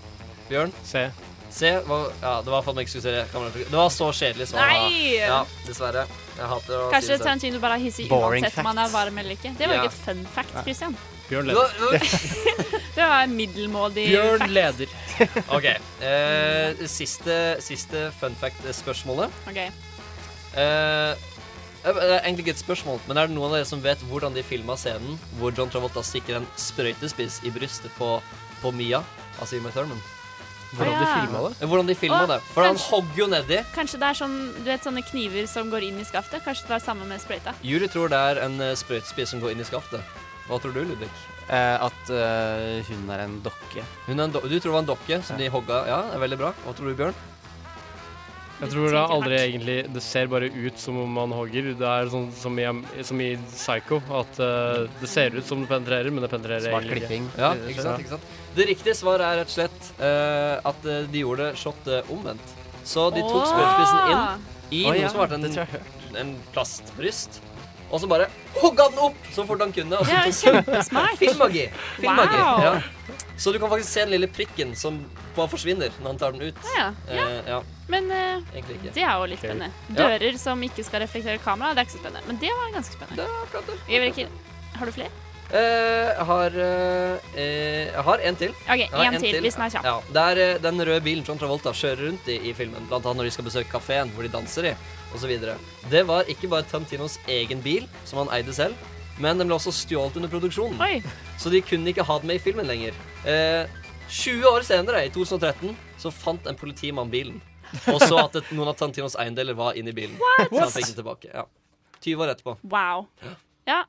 Speaker 5: Bjørn?
Speaker 8: C.
Speaker 5: C var, ja, det var for at man ikke skulle se det. kamerarefleksjonen. Det var så kjedelig svar. da.
Speaker 7: Nei!
Speaker 5: Ja, dessverre. Jeg hater å si
Speaker 7: Kanskje
Speaker 5: det selv.
Speaker 7: Tarantino bare er hissig
Speaker 5: Boring
Speaker 7: uansett om han er varm eller ikke. Det var jo
Speaker 5: Ja.
Speaker 7: ikke et fun fact,
Speaker 5: Nei.
Speaker 7: Christian.
Speaker 8: Bjørn
Speaker 5: leder.
Speaker 7: Det var en middelmådig
Speaker 8: Bjørn
Speaker 7: fact.
Speaker 8: leder.
Speaker 5: OK. eh, siste, siste fun fact-spørsmålet.
Speaker 7: Ok.
Speaker 5: Eh, det er egentlig ikke et spørsmål, men er det noen av dere som vet hvordan de filma scenen hvor John Travolta stikker en sprøytespiss i brystet på, på Mia, altså Uma Thurman?
Speaker 8: Hvordan de Ja. filmet
Speaker 5: det? Hvordan de filma
Speaker 7: Å,
Speaker 5: det. For han
Speaker 7: kanskje-
Speaker 5: hogger jo nedi.
Speaker 7: Kanskje det er sånn, du vet, sånne kniver som går inn i skaftet? Kanskje det var samme med sprøyta?
Speaker 5: Julie tror det er en eh, sprøytespiss som går inn i skaftet. Hva tror du, Ludvig?
Speaker 23: Eh, at eh, hun er en dokke.
Speaker 5: Hun er en do du tror det var en dokke som de hogga? Ja, det er veldig bra. Hva tror du, Bjørn?
Speaker 8: Jeg tror det er aldri egentlig Det ser bare ut som om man hogger. Det er sånn som i, som i Psycho, at eh, det ser ut som det penetrerer, men det penetrerer
Speaker 23: Smart
Speaker 8: egentlig
Speaker 23: klipping.
Speaker 5: Ja, ikke sant, ikke sant. Det riktige svaret er rett og slett eh, at eh, de gjorde shotet omvendt. Så de tok
Speaker 23: Åh!
Speaker 5: spørrespissen inn i
Speaker 23: Å,
Speaker 5: noe
Speaker 23: ja,
Speaker 5: som var en,
Speaker 23: det tror jeg jeg
Speaker 5: en plastbryst. Og så bare hogga den opp så fort han kunne. og så-
Speaker 23: Det er jo kjempesmart.
Speaker 5: Filmmagi. Filmmagi.
Speaker 23: Wow.
Speaker 5: Ja. Så du kan faktisk se den lille prikken som bare forsvinner når han tar den ut.
Speaker 7: Ja, ja.
Speaker 5: Eh, ja.
Speaker 7: Men eh,
Speaker 5: Egentlig ikke.
Speaker 7: det er jo litt spennende.
Speaker 5: Ja.
Speaker 7: Dører som ikke skal reflektere kamera, det er ikke så spennende. Men det var ganske spennende. Jeg vil ikke... Har du flere?
Speaker 5: Eh, jeg har eh, eh, Jeg har en til.
Speaker 7: Ok,
Speaker 5: Jeg har
Speaker 7: en til, hvis den er kjapp.
Speaker 5: Ja, det er eh, den røde bilen John Travolta kjører rundt i i filmen, blant annet når de skal besøke kafeen hvor de danser i, osv. Det var ikke bare Tantinos egen bil, som han eide selv, men den ble også stjålet under produksjonen. Så de kunne ikke ha den med i filmen lenger. Eh, 20 år senere, i 2013, så fant en politimann bilen. Og så at et, noen av Tantinos eiendeler var inni bilen.
Speaker 7: What?
Speaker 5: Så han fikk den tilbake. Ja. 20 år etterpå.
Speaker 7: Wow. Ja.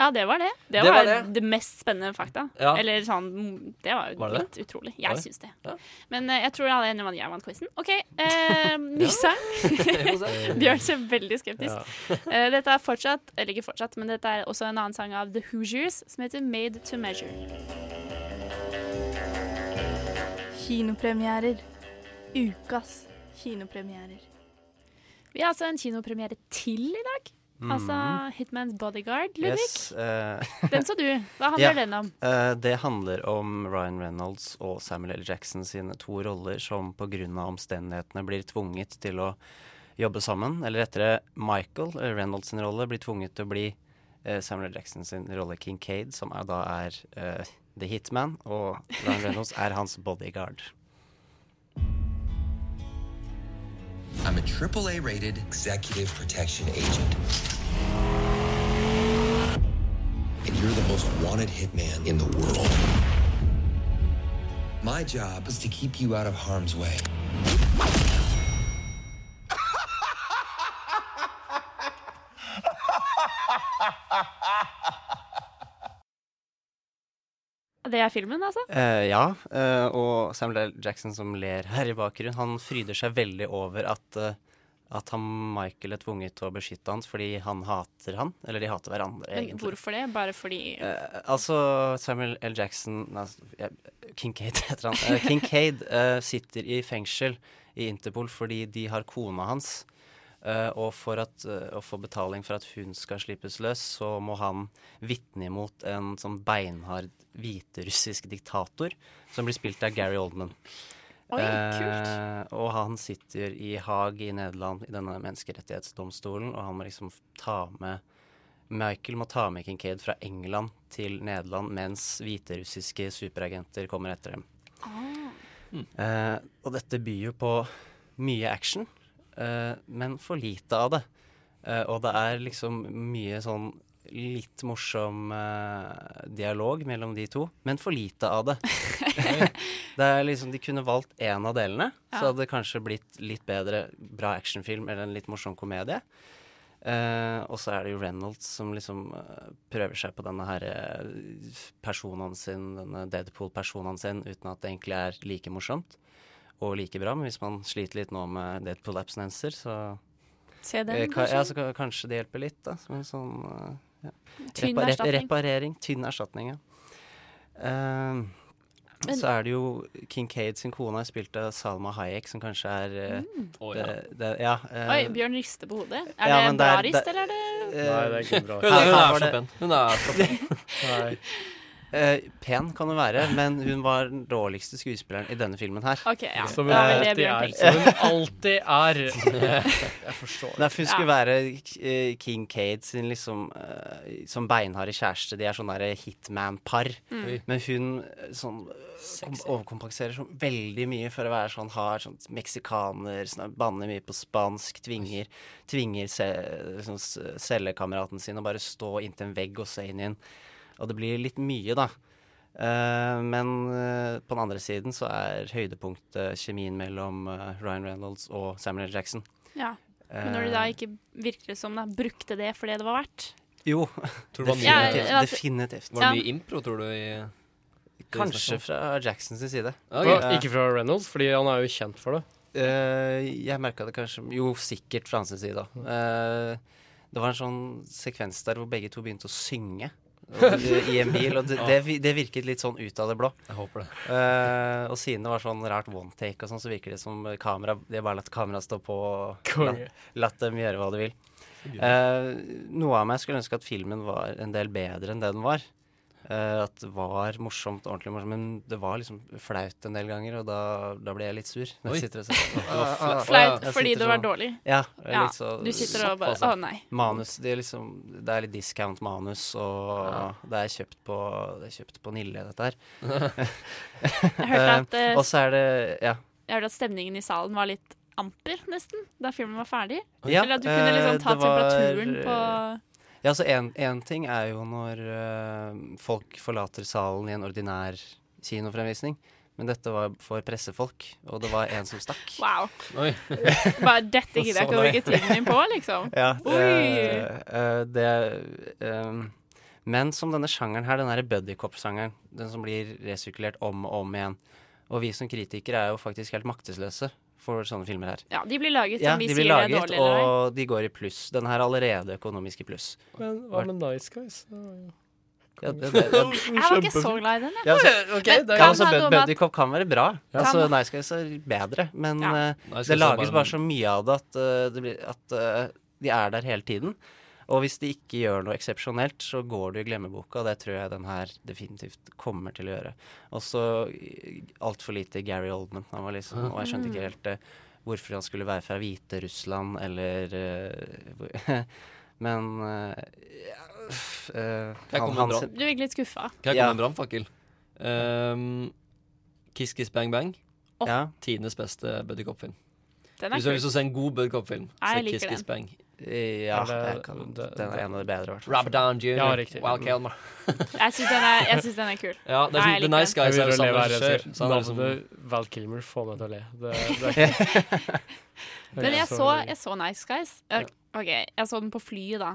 Speaker 7: ja, det var det. Det,
Speaker 5: Det
Speaker 7: var,
Speaker 5: var
Speaker 7: det.
Speaker 5: det.
Speaker 7: mest spennende fakta.
Speaker 5: Ja.
Speaker 7: Eller sånn Det var jo
Speaker 5: Var det
Speaker 7: litt
Speaker 5: det?
Speaker 7: utrolig.
Speaker 5: Var
Speaker 7: Jeg
Speaker 5: det?
Speaker 7: syns det. Men eh, jeg tror alle er enige om at jeg vant quizen. OK. Eh, ny sang. Bjørn ser veldig skeptisk. Eh, dette er fortsatt, eller ikke fortsatt, men dette er også en annen sang av The Hoosiers som heter Made to Measure.
Speaker 22: Kinopremierer. Ukas kinopremierer.
Speaker 7: Vi har altså en kinopremiere til i dag. Altså
Speaker 23: Mhm.
Speaker 7: Hitman's Bodyguard, Ludvig.
Speaker 23: Yes, eh,
Speaker 7: Den så du. Hva handler
Speaker 23: ja,
Speaker 7: den om?
Speaker 23: eh, det handler om Ryan Reynolds og Samuel L. Jackson sine to roller som pga. omstendighetene blir tvunget til å jobbe sammen. Eller rettere, Michael eh, Reynolds sin rolle blir tvunget til å bli eh, Samuel L. Jackson sin rolle Kincaid, som er, da er eh, The Hitman, og Ryan Reynolds er hans bodyguard.
Speaker 24: I'm a AAA rated executive protection agent.
Speaker 1: You're the most wanted hitman in the world. My job is to keep you out of harm's way.
Speaker 7: Det er filmen, altså?
Speaker 5: Eh, ja, eh, og Samuel L. Jackson som ler her i bakgrunnen, han fryder seg veldig over at, eh, at han, Michael er tvunget til å beskytte han fordi han hater han, eller de hater hverandre,
Speaker 7: Men
Speaker 5: egentlig.
Speaker 7: hvorfor det? Bare fordi
Speaker 5: Eh, altså, Samuel L. Jackson nei, altså, jeg- Kincaid heter han. Eh, Kincaid eh, sitter i fengsel i Interpol fordi de har kona hans. Eh, og for at, eh, å få betaling for at hun skal slippes løs, så må han vitne imot en sånn beinhard hviterussisk diktator som blir spilt av Gary Oldman.
Speaker 25: Oi,
Speaker 5: Eh, og han sitter i Haag i Nederland i denne menneskerettighetsdomstolen, og han må liksom f- ta med Michael må ta med Kincaid fra England til Nederland mens hviterussiske superagenter kommer etter dem. Eh, og dette byr jo på mye action, eh, men for lite av det. Eh, og det er liksom mye sånn litt morsom eh, dialog mellom de to, men for lite av det. det er liksom, De kunne valgt én av delene, så
Speaker 7: Ja.
Speaker 5: hadde det kanskje blitt litt bedre bra actionfilm eller en litt morsom komedie. Eh, og så er det jo Reynolds som liksom eh, prøver seg på denne her eh, personen sin, denne Deadpool-personen sin, uten at det egentlig er like morsomt og like bra. Men hvis man sliter litt nå med Deadpool-abstinenser, så
Speaker 7: Se den,
Speaker 5: Eh, ka- Ja,
Speaker 7: kanskje?
Speaker 5: så ka- kanskje det hjelper litt, da. Som en sånn eh, ja.
Speaker 7: Tynn
Speaker 5: Repar- rep-
Speaker 7: erstatning.
Speaker 5: Reparering. Tynn erstatning, ja. Eh,
Speaker 7: Men-
Speaker 5: så er det jo Kincaid sin kone er spilt av Salma Hayek, som kanskje er eh,
Speaker 7: Mm.
Speaker 5: det,
Speaker 26: Å, ja.
Speaker 5: det, ja eh,
Speaker 7: Oi, Bjørn rister på hodet. Er
Speaker 5: ja,
Speaker 7: det
Speaker 5: men
Speaker 7: bra
Speaker 5: er-
Speaker 7: rist, eller er det
Speaker 5: eh,
Speaker 8: Nei, det er ikke bra.
Speaker 26: Hun er- hun
Speaker 5: Her
Speaker 26: er så
Speaker 5: var det-
Speaker 26: pen. Hun er så pen. Nei.
Speaker 5: Eh, pen kan hun være, men hun var den dårligste skuespilleren i denne filmen her.
Speaker 7: Ok, ja.
Speaker 8: Som hun Ja, men det alltid blir en er. pil. Som hun alltid er. Jeg forstår.
Speaker 5: Derfor hun skulle være eh, King Cade sin liksom eh, Som beinharde kjæreste. De er sånn derre hitman-par.
Speaker 26: Mm. Oi.
Speaker 5: Men hun eh, sånn eh, kom, overkompenserer sånn veldig mye for å være sånn hard sånn meksikaner, sånn, banner mye på spansk, tvinger, tvinger se, sånn, s- cellekameraten sin å bare stå inntil en vegg og se inn i den. Og det blir litt mye, da. Eh, men eh, på den andre siden så er høydepunktet kjemien mellom eh, Ryan Reynolds og Samuel L. Jackson.
Speaker 7: Ja. Men når de da
Speaker 5: Eh,
Speaker 7: ikke virker som de brukte det for det det var verdt
Speaker 5: Jo.
Speaker 26: Tror du det var mye-
Speaker 7: Ja,
Speaker 5: definitivt.
Speaker 7: ja, altså-
Speaker 5: definitivt.
Speaker 26: Var det mye impro, tror du? I
Speaker 5: Kanskje fra Jacksons side.
Speaker 8: Og Ikke fra Reynolds, fordi han er jo kjent for det.
Speaker 5: Eh, jeg merka det kanskje Jo, sikkert fra hans side, da. Eh, det var en sånn sekvens der hvor begge to begynte å synge. og- I en bil, og det, det, vi- det virket litt sånn ut av det blå.
Speaker 26: Jeg håper det.
Speaker 5: Eh, og siden det var sånn rart one take, og sånn, så virker det som kamera De har bare latt kameraet stå på og
Speaker 8: Konge.
Speaker 5: latt, latt dem gjøre hva de vil.
Speaker 8: Gøy.
Speaker 5: Eh, noe av meg skulle ønske at filmen var en del bedre enn det den var. Eh, at det var morsomt, ordentlig morsomt, men det var liksom flaut en del ganger, og da, da ble jeg litt sur. når jeg
Speaker 26: Oi.
Speaker 5: sitter og ser på den.
Speaker 26: Det var
Speaker 7: Ah,
Speaker 26: fla-
Speaker 5: Jeg
Speaker 26: flaut
Speaker 5: sitter
Speaker 7: fordi det var
Speaker 5: sånn-
Speaker 7: dårlig?
Speaker 5: Ja. jeg er
Speaker 7: Ja,
Speaker 5: litt så- altså.
Speaker 7: du sitter og bare,
Speaker 5: Såpass, da.
Speaker 7: «Å, nei».
Speaker 5: Manus, det er liksom Det er litt discount-manus, og det er kjøpt på, det er kjøpt på Nille, dette her.
Speaker 7: Jeg hørte at,
Speaker 5: Eh,
Speaker 7: eh,
Speaker 5: Og så er det Ja.
Speaker 7: Jeg hørte at stemningen i salen var litt amper, nesten, da filmen var ferdig.
Speaker 5: Ja,
Speaker 7: eller at du kunne liksom
Speaker 5: eh,
Speaker 7: ta
Speaker 5: det var, eh,
Speaker 7: temperaturen på
Speaker 5: Ja, så én ting er jo når eh, folk forlater salen i en ordinær kinofremvisning. Men dette var for pressefolk, og det var en som stakk.
Speaker 7: Wow.
Speaker 26: Oi.
Speaker 7: Bare dette gidder jeg ikke å bruke
Speaker 5: Sånn, nei.
Speaker 7: tiden min på, liksom.
Speaker 5: Ja,
Speaker 7: Oi!
Speaker 5: eh, eh, det ehm, Men som denne sjangeren her, den derre buddycop-sjangeren, den som blir resirkulert om og om igjen. Og vi som kritikere er jo faktisk helt maktesløse for sånne filmer her.
Speaker 7: Ja, de blir laget
Speaker 5: Ja,
Speaker 7: om vi
Speaker 5: de
Speaker 7: sier
Speaker 5: blir
Speaker 7: det er
Speaker 5: laget,
Speaker 7: dårlig eller ei.
Speaker 5: og de går i pluss. Den her er allerede økonomisk i pluss.
Speaker 8: Men hva med Nice Guys?
Speaker 5: Ja, det- det-
Speaker 7: Jeg
Speaker 5: det-
Speaker 7: var ikke så glad i den, jeg.
Speaker 5: Ja, altså,
Speaker 7: Men
Speaker 5: ja,
Speaker 7: kan
Speaker 5: altså,
Speaker 7: ha
Speaker 5: Bud-
Speaker 7: noe med at-
Speaker 5: Buddy Cop kan være bra.
Speaker 7: Ja.
Speaker 5: Altså,
Speaker 7: Kan-
Speaker 5: Nice Guys er bedre, men eh,
Speaker 26: Nice Guys
Speaker 5: det
Speaker 26: er
Speaker 5: lages
Speaker 26: bare-
Speaker 5: bare så mye av det at, eh, det blir, at eh, de er der hele tiden. Og hvis de ikke gjør noe eksepsjonelt, så går det i glemmeboka, og det tror jeg den her definitivt kommer til å gjøre. Og så altfor lite Gary Oldman. Han var liksom, og jeg skjønte ikke helt eh, hvorfor han skulle være fra Hviterussland eller eh, hvor- Men eh, ja, uff, eh,
Speaker 26: Jeg
Speaker 5: han-
Speaker 26: kommer
Speaker 5: han
Speaker 26: bra.
Speaker 5: sin-
Speaker 7: Du virker litt skuffa.
Speaker 26: Kan jeg
Speaker 5: Ja.
Speaker 26: komme med en brannfakkel? Ehm, Kiss Kiss Bang Bang.
Speaker 7: Åh.
Speaker 5: Ja.
Speaker 26: Tidenes beste buddycop-film.
Speaker 7: Den er
Speaker 26: Hvis du har
Speaker 7: kul.
Speaker 26: lyst til å se en god buddycop-film,
Speaker 7: Ja,
Speaker 26: se
Speaker 7: jeg liker
Speaker 26: Kiss Kiss
Speaker 7: den.
Speaker 26: Bang.
Speaker 5: Ja,
Speaker 8: Er det-
Speaker 5: jeg kan,
Speaker 8: det-
Speaker 5: den er
Speaker 8: det-
Speaker 5: en av de bedre, i hvert fall.
Speaker 27: Rob Down Jr.
Speaker 8: Ja, riktig.
Speaker 27: Wild Kelmer.
Speaker 7: Jeg syns den, er- jeg synes den er kul.
Speaker 27: Ja, det er
Speaker 7: Nei,
Speaker 27: sånn
Speaker 7: jeg
Speaker 27: The
Speaker 7: liker
Speaker 27: Nice
Speaker 7: den.
Speaker 27: Guys
Speaker 8: Jeg
Speaker 27: er jo
Speaker 8: begynner å le
Speaker 27: samme
Speaker 8: hver eneste
Speaker 27: regissør.
Speaker 8: gang.
Speaker 27: så han er liksom-
Speaker 8: Navnet Val Kilmer får meg til å le. Det, det er ikke
Speaker 7: Men jeg så, jeg så Nice Guys. Eh, Ok, Jeg så den på flyet da,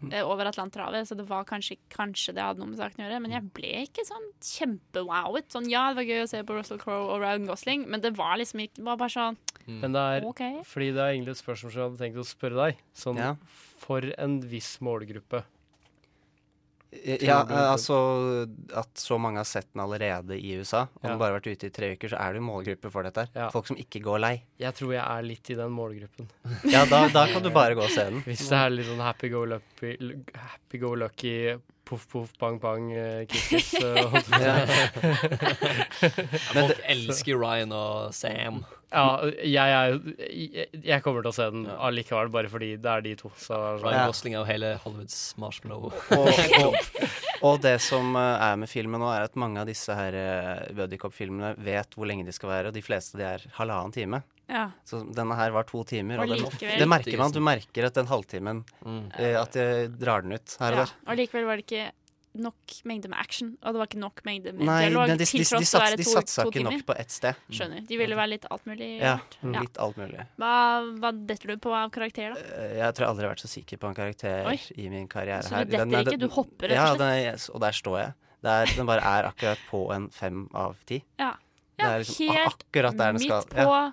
Speaker 5: Mhm.
Speaker 7: eh, over Atlanterhavet, så det var kanskje, kanskje det hadde noe med saken å gjøre. Men
Speaker 5: Mhm.
Speaker 7: jeg ble ikke sånn kjempewowet. Sånn, ja, det var gøy å se på Russell Crowe og Ryan Gosling, men det var liksom ikke Det var bare sånn
Speaker 8: Men det er
Speaker 7: Ok.
Speaker 8: fordi det er egentlig et spørsmål som jeg hadde tenkt å spørre deg. Sånn
Speaker 5: Ja.
Speaker 8: for en viss målgruppe.
Speaker 5: Ja,
Speaker 8: Tror du-
Speaker 5: eh, altså at så mange har sett den allerede i USA, og
Speaker 8: Ja.
Speaker 5: den bare har vært ute i tre uker, så er det jo målgruppe for dette her.
Speaker 8: Ja.
Speaker 5: Folk som ikke går lei.
Speaker 8: Jeg tror jeg er litt i den målgruppen.
Speaker 5: Ja, da- da kan du bare gå og se den.
Speaker 8: Hvis det er litt sånn happy-go-lucky, happy-go-lucky poff-poff, bang-bang, eh, kiss-kiss
Speaker 27: Folk elsker Ryan og Sam.
Speaker 8: Ja, jeg, er- jeg, jeg kommer til å se den allikevel, bare fordi det er sånn- de to. Så,
Speaker 27: Ryan Gosling er jo hele Hollywoods marshmallow.
Speaker 5: Og, og, og det som eh, er med filmen nå, er at mange av disse her eh, buddy cop-filmene vet hvor lenge de skal være, og de fleste de er halvannen time.
Speaker 7: Ja.
Speaker 5: Så denne her var to timer,
Speaker 7: Og
Speaker 5: og, det,
Speaker 7: likevel-
Speaker 5: det merker man. Du merker at den halvtimen eh, At jeg drar den ut her
Speaker 7: ja.
Speaker 5: og der.
Speaker 7: Og likevel var det ikke nok mengde med action, og det var ikke nok mengde med
Speaker 5: Nei,
Speaker 7: dialog.
Speaker 5: men de, de,
Speaker 7: til
Speaker 5: de,
Speaker 7: tross for å
Speaker 5: sats,
Speaker 7: være
Speaker 5: de
Speaker 7: to-
Speaker 5: satsa
Speaker 7: to
Speaker 5: ikke
Speaker 7: timer.
Speaker 5: nok på ett sted.
Speaker 7: Skjønner. De ville være litt alt mulig.
Speaker 5: Ja, mm.
Speaker 7: rart. Ja.
Speaker 5: litt alt mulig.
Speaker 7: Hva, hva detter du på av karakter, da?
Speaker 5: Eh, Jeg tror jeg aldri har vært så sikker på en karakter
Speaker 7: Oi.
Speaker 5: i min karriere.
Speaker 7: Så du
Speaker 5: her.
Speaker 7: detter
Speaker 5: er-
Speaker 7: ikke, du hopper, rett og
Speaker 5: ja,
Speaker 7: slett?
Speaker 5: den er- yes, og der står jeg. Det er, den bare er akkurat på en fem av ti.
Speaker 7: Ja, ja
Speaker 5: Det er liksom ak- akkurat der den skal-
Speaker 7: midt på.
Speaker 5: ja.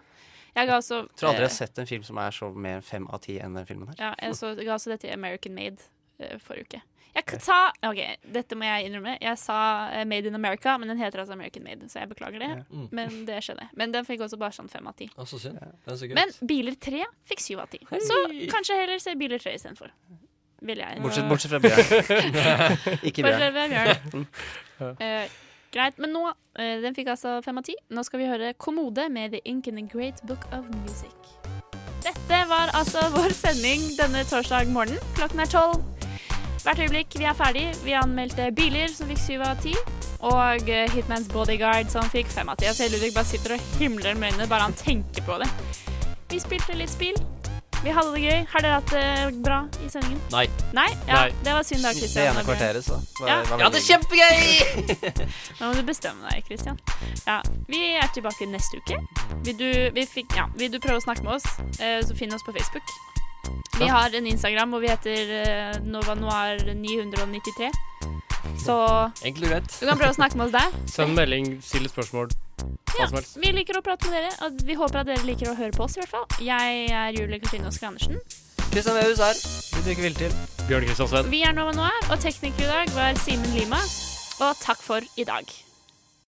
Speaker 7: Jeg ga også
Speaker 5: Jeg tror aldri jeg har
Speaker 7: eh,
Speaker 5: sett en film som er så mer fem av ti enn den filmen her.
Speaker 7: Ja, jeg, så, jeg ga også dette i American Made eh, forrige uke. Jeg k- sa OK, dette må jeg innrømme. Jeg sa eh, Made in America, men den heter altså American Made, så jeg beklager det.
Speaker 27: Mm.
Speaker 7: Men det skjønner jeg. Men den fikk også bare sånn fem av ti.
Speaker 27: Å, så synd. Den er så gøy.
Speaker 7: Men Biler 3 fikk syv av ti. Så kanskje heller se Biler 3 istedenfor. Vil jeg.
Speaker 5: Bortsett, bortsett fra Bjørn. ikke
Speaker 7: Bortsett fra
Speaker 5: Bjørn.
Speaker 7: Bjørn. Eh, greit. Men nå eh, Den fikk altså fem av ti. Nå skal vi høre Kommode med The Ink in the Great Book of Music. Dette var altså vår sending denne torsdag morgen. Klokken er tolv. Hvert øyeblikk vi er ferdig. Vi anmeldte biler, som fikk syv av ti. Og eh, Hitmans Bodyguard, som fikk fem av ti. Jeg ser Ludvig bare sitter og himler med øynene bare han tenker på det. Vi spilte litt spill. Vi hadde det gøy. Har dere hatt det eh, bra i sendingen?
Speaker 27: Nei.
Speaker 7: Nei? Ja,
Speaker 27: Nei.
Speaker 7: det var synd da,
Speaker 5: Det
Speaker 7: Kristian.
Speaker 5: ene kvarteret, så. Var,
Speaker 7: Ja.
Speaker 5: var
Speaker 27: Ja, det er
Speaker 5: veldig-
Speaker 27: kjempegøy!
Speaker 7: Nå må du bestemme deg, Kristian. Ja, vi er tilbake neste uke. Vil du, vi fikk, ja, vil du prøve å snakke med oss, eh, så finn oss på Facebook. Vi
Speaker 28: Ja.
Speaker 7: har en Instagram hvor vi heter eh, Nova Noir 993. Så
Speaker 27: Enkelt og greit.
Speaker 7: du kan prøve å snakke med oss der.
Speaker 8: Send melding, still spørsmål. Hva
Speaker 7: Ja,
Speaker 8: som helst.
Speaker 7: vi liker å prate med dere, og vi håper at dere liker å høre på oss i hvert fall. Jeg er Julie Katrine Oskar Andersen.
Speaker 27: Kristian Veus her. Vi drikker villtil.
Speaker 8: Bjørn Kristiansen.
Speaker 7: Vi er Nova Noir, og tekniker i dag var Simen Lima. Og takk for i dag.